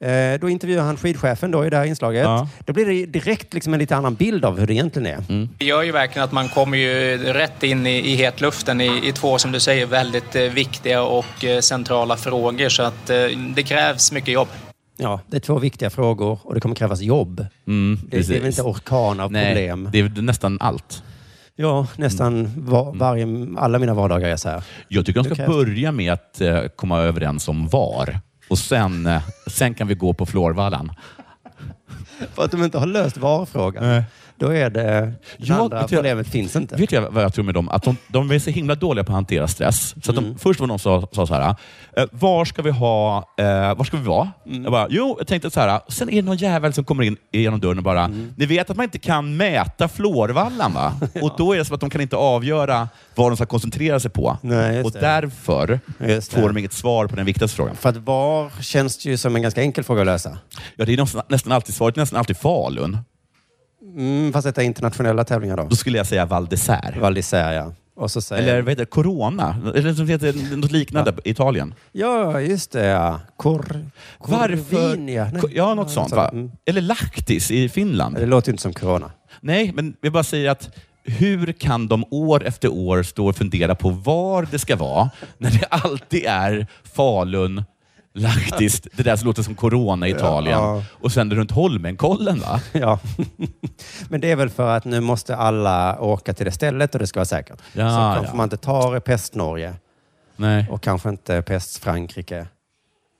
Speaker 10: Eh, då intervjuar han skidchefen då i det här inslaget.
Speaker 13: Ja.
Speaker 10: Då blir det direkt liksom en lite annan bild av hur det egentligen är.
Speaker 9: Mm.
Speaker 13: Det gör ju verkligen att man kommer ju rätt in i, i hetluften i, i två, som du säger, väldigt eh, viktiga och eh, centrala frågor. Så att eh, det krävs mycket jobb.
Speaker 10: Ja, det är två viktiga frågor och det kommer krävas jobb.
Speaker 9: Mm,
Speaker 10: Det, det är väl
Speaker 9: precis.
Speaker 10: inte orkan av
Speaker 9: Nej,
Speaker 10: problem?
Speaker 9: Det Mm. är nästan allt.
Speaker 10: Ja, nästan var, varje, alla mina vardagar är så här.
Speaker 9: Jag tycker de
Speaker 10: Nu
Speaker 9: ska
Speaker 10: krävs-
Speaker 9: börja med att eh, komma överens om VAR. Och sen, eh, sen kan vi gå på florvallan.
Speaker 10: För att de inte har löst var-frågan. Då är det... Det andra
Speaker 9: vet du-
Speaker 10: problemet finns inte.
Speaker 9: Vet jag vad jag tror med dem? Att de, de är så himla dåliga på att hantera stress. Så att
Speaker 10: Mm.
Speaker 9: de, Först var någon som sa, sa så här, eh, var ska vi ha, eh, var ska vi vara?
Speaker 10: Mm.
Speaker 9: Jag bara, jo, jag tänkte så här, sen är det någon jävel som kommer in genom dörren och bara,
Speaker 10: Mm.
Speaker 9: ni vet att man inte kan mäta florvallan va? Och då är det som att de kan inte avgöra vad de ska koncentrera sig på.
Speaker 10: Nej, just
Speaker 9: och
Speaker 10: det.
Speaker 9: därför
Speaker 10: Just det.
Speaker 9: får de inget svar på den viktigaste frågan.
Speaker 10: För att var känns det ju som en ganska enkel fråga att lösa.
Speaker 9: Ja, det är nästan, nästan alltid svaret, är nästan alltid Falun.
Speaker 10: Mm, fast detta är internationella tävlingar då.
Speaker 9: Då skulle jag säga Val d'Isère.
Speaker 10: Val d'Isère, ja. Och så säger
Speaker 9: Eller vad heter det? Corona? Eller som heter något liknande i Italien?
Speaker 10: Ja, just det. Ja. Cor...
Speaker 9: Varför?
Speaker 10: Corvinia. Nej.
Speaker 9: Ko- Ja, något sånt. Va?
Speaker 10: Mm.
Speaker 9: Eller Lahtis i Finland.
Speaker 10: Det låter inte som corona.
Speaker 9: Nej, men vi bara säger att hur kan de år efter år stå och fundera på var det ska vara när det alltid är Falun, Lahtis, det där som låter som corona i Italien
Speaker 10: Ja.
Speaker 9: och sen runt Holmenkollen va?
Speaker 10: Ja. Men det är väl för att nu måste alla åka till det stället och det ska vara säkert.
Speaker 9: Ja,
Speaker 10: så kanske
Speaker 9: ja.
Speaker 10: man inte tar Pest-Norge
Speaker 9: Nej.
Speaker 10: och kanske inte Pest-Frankrike.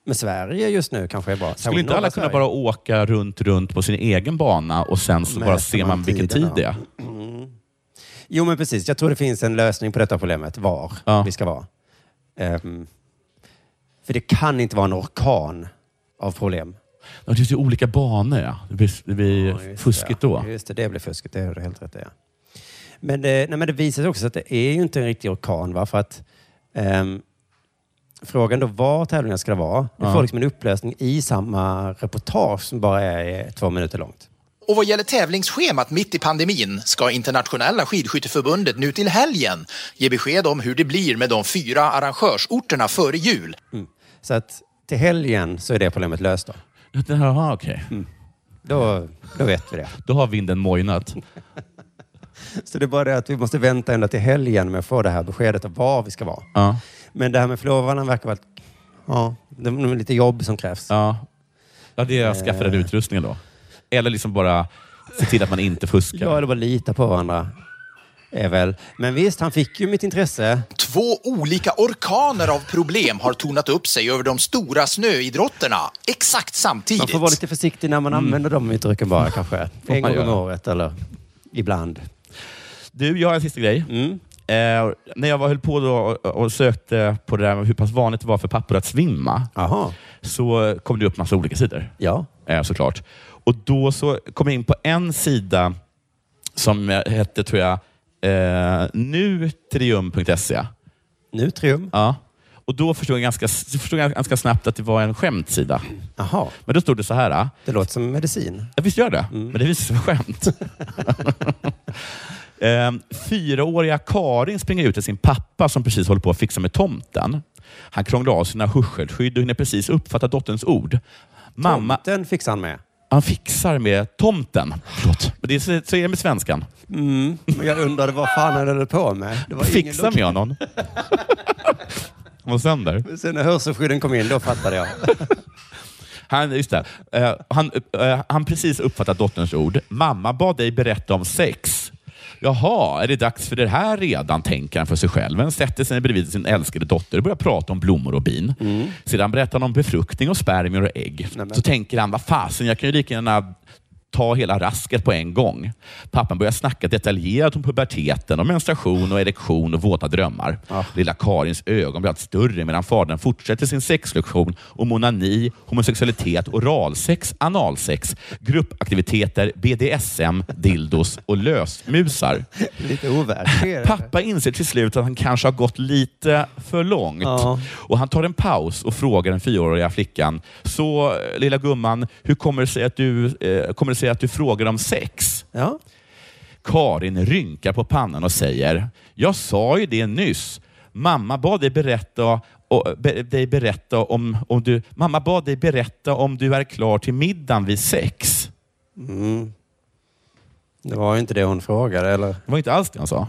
Speaker 10: Men Sverige just nu kanske är bra. Särskilt
Speaker 9: Skulle inte alla
Speaker 10: norra
Speaker 9: kunna
Speaker 10: Sverige.
Speaker 9: bara åka runt, runt på sin egen bana och sen så bara
Speaker 10: Mäter
Speaker 9: ser
Speaker 10: man
Speaker 9: man vilken tid
Speaker 10: tiden,
Speaker 9: det
Speaker 10: ja.
Speaker 9: är?
Speaker 10: Jo, men precis. Jag tror det finns en lösning på detta problemet, var vi ska vara. Ehm, för det kan inte vara en orkan av problem.
Speaker 9: Ja, det finns ju olika banor. Ja. Det blir, det blir fuskigt
Speaker 10: det,
Speaker 9: då.
Speaker 10: Just det, det blir fuskigt. Det är helt rätt i, ja. Men det, nej, men det visar sig också att det är ju inte en riktig orkan. Va? För att, ehm, frågan då var tävlingen ska vara, du
Speaker 9: Ja.
Speaker 10: får liksom en upplösning i samma reportage som bara är eh, två minuter långt.
Speaker 12: Och vad gäller tävlingsschemat mitt i pandemin ska Internationella skidskytteförbundet nu till helgen ge besked om hur det blir med de fyra arrangörsorterna före jul.
Speaker 10: Så att till helgen så är det problemet löst då.
Speaker 9: Jaha, okej.
Speaker 10: Då, då vet vi det.
Speaker 9: Då har vinden mojnat.
Speaker 10: Så det är bara det att vi måste vänta ända till helgen med att få det här beskedet om var vi ska vara.
Speaker 9: Ja.
Speaker 10: Men det här med förlovarna verkar vara... Ja, det är lite jobb som krävs.
Speaker 9: Ja. ja, det är att skaffa den
Speaker 10: Eh.
Speaker 9: utrustningen då. Eller liksom bara se till att man inte fuskar.
Speaker 10: Ja, eller bara lita på varandra. Är väl. Men visst, han fick ju mitt intresse.
Speaker 12: Två olika orkaner av problem har tornat upp sig över de stora snöidrotterna exakt
Speaker 10: Man får vara
Speaker 12: samtidigt.
Speaker 10: lite försiktig när man använder de uttrycken bara kanske.
Speaker 9: Får
Speaker 10: en
Speaker 9: man
Speaker 10: gång om
Speaker 9: göra.
Speaker 10: året eller ibland.
Speaker 9: Du, jag har en sista grej. Eh, när jag var, höll på då och, och sökte på det där med hur pass vanligt det var för pappor att svimma, så kom det upp massa olika sidor.
Speaker 10: Ja.
Speaker 9: Eh, såklart. Och då så kom jag in på en sida som eh, hette, tror jag, eh, nutrium.se.
Speaker 10: Nutrium?
Speaker 9: Ja. Och då förstod jag, ganska, förstod jag ganska snabbt att det var en skämtsida.
Speaker 10: Aha.
Speaker 9: Men då stod det så här. eh,
Speaker 10: Det låter som medicin.
Speaker 9: Ja, visst gör det.
Speaker 10: Mm.
Speaker 9: Men det visar sig vara skämt. Ehm, Fyraåriga Karin springer ut till sin pappa som precis håller på att fixa med tomten. Han krånglar av sina hörselskydd och hinner precis uppfatta dotterns ord. Mamma,
Speaker 10: Tomten fixar han med.
Speaker 9: han fixar med tomten. Förlåt. Men det är, så- så är det med svenskan.
Speaker 10: Mm. Men jag undrade vad fan han höll på med. Det var ingen
Speaker 9: Fixa med honom. Han var sönder.
Speaker 10: Men Sen när hörselskydden kom in, då fattade jag.
Speaker 9: Han, just det. Eh, han, eh, han precis uppfattat dotterns ord. Mamma bad dig berätta om sex. Jaha, är det dags för det här redan, tänker han för sig själv. Han sätter sig bredvid sin älskade dotter och börjar prata om blommor och bin. Sedan berättar han om befruktning och spermier och ägg. Så tänker han, vad fasen, jag kan ju lika gärna ta hela rasket på en gång. Pappan börjar snacka detaljerat om puberteten, om menstruation, och erektion och våta drömmar. Lilla Karins ögon blir allt större medan fadern fortsätter sin sexlektion om onani, homosexualitet, oralsex, analsex, gruppaktiviteter, BDSM, dildos och lösmusar.
Speaker 10: Lite overklig.
Speaker 9: Pappa inser till slut att han kanske har gått lite för långt.
Speaker 10: Ja.
Speaker 9: Och Han tar en paus och frågar den fyraåriga flickan. Så eh, lilla gumman, hur kommer det sig att du, eh, kommer det sig att du frågar om sex?
Speaker 10: Ja.
Speaker 9: Karin rynkar på pannan och säger, jag sa ju det nyss. Mamma bad dig berätta, och, be, dig berätta om, om du, mamma bad dig berätta om du är klar till middagen vid sex.
Speaker 10: Mm. Det var ju inte det hon frågade, eller?
Speaker 9: Det var inte alls det han sa.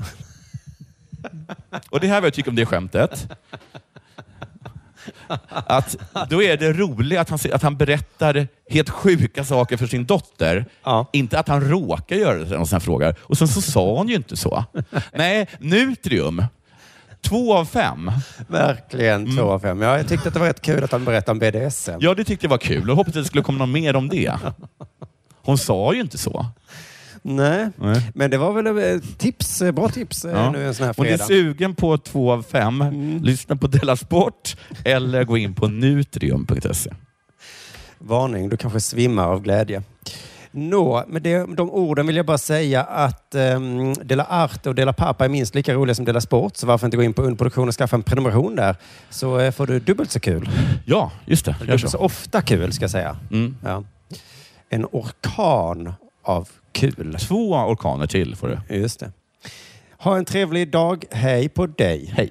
Speaker 9: Och det här är vad jag tycker om det skämtet. Att då är det roligt att han, se- att han berättar helt sjuka saker för sin dotter. Inte att han råkar göra det och sen frågar. Och sen så sa hon ju inte så. Nej, Nutrium. Två av fem.
Speaker 10: Verkligen två av fem. Ja, jag tyckte att det var rätt kul att han berättade om BDSM.
Speaker 9: Ja, det tyckte jag var kul och hoppades det skulle komma något mer om det. Hon sa ju inte så.
Speaker 10: Nej.
Speaker 9: Nej.
Speaker 10: men det var väl eh, tips, eh, bra tips eh, nu en sån här
Speaker 9: Om ni är
Speaker 10: fredag. Mm.
Speaker 9: sugen på två av fem, lyssna på Della Sport eller gå in på nutrium.se.
Speaker 10: Varning, du kanske svimmar av glädje. Nå, med det, de orden vill jag bara säga att um, Dela Arte och Dela Pappa är minst lika roliga som Dela Sport. Så varför inte gå in på Underproduktion och skaffa en prenumeration där? Så eh, får du dubbelt så kul.
Speaker 9: Ja, just det. Gör
Speaker 10: Dubbelt så
Speaker 9: så.
Speaker 10: ofta kul, ska jag säga.
Speaker 9: Mm.
Speaker 10: Ja. En orkan av kul.
Speaker 9: Två orkaner till får du.
Speaker 10: Just det. Ha en trevlig dag. Hej på dig.
Speaker 9: Hej.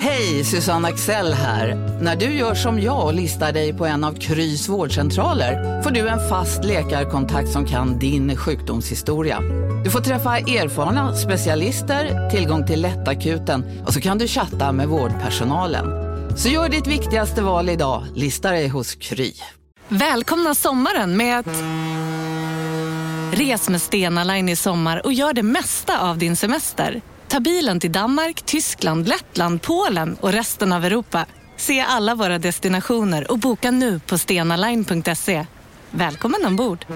Speaker 14: Hej, Susanne Axel här. När du gör som jag och listar dig på en av Krys vårdcentraler får du en fast läkarkontakt som kan din sjukdomshistoria. Du får träffa erfarna specialister, tillgång till lättakuten och så kan du chatta med vårdpersonalen. Så gör ditt viktigaste val idag, listar dig hos Kry.
Speaker 4: Välkomna sommaren med att... Res med Stena Line i sommar och gör det mesta av din semester. Ta bilen till Danmark, Tyskland, Lettland, Polen och resten av Europa. Se alla våra destinationer och boka nu på stenaline.se. Välkommen ombord!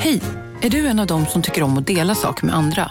Speaker 15: Hej! Är du en av dem som tycker om att dela saker med andra?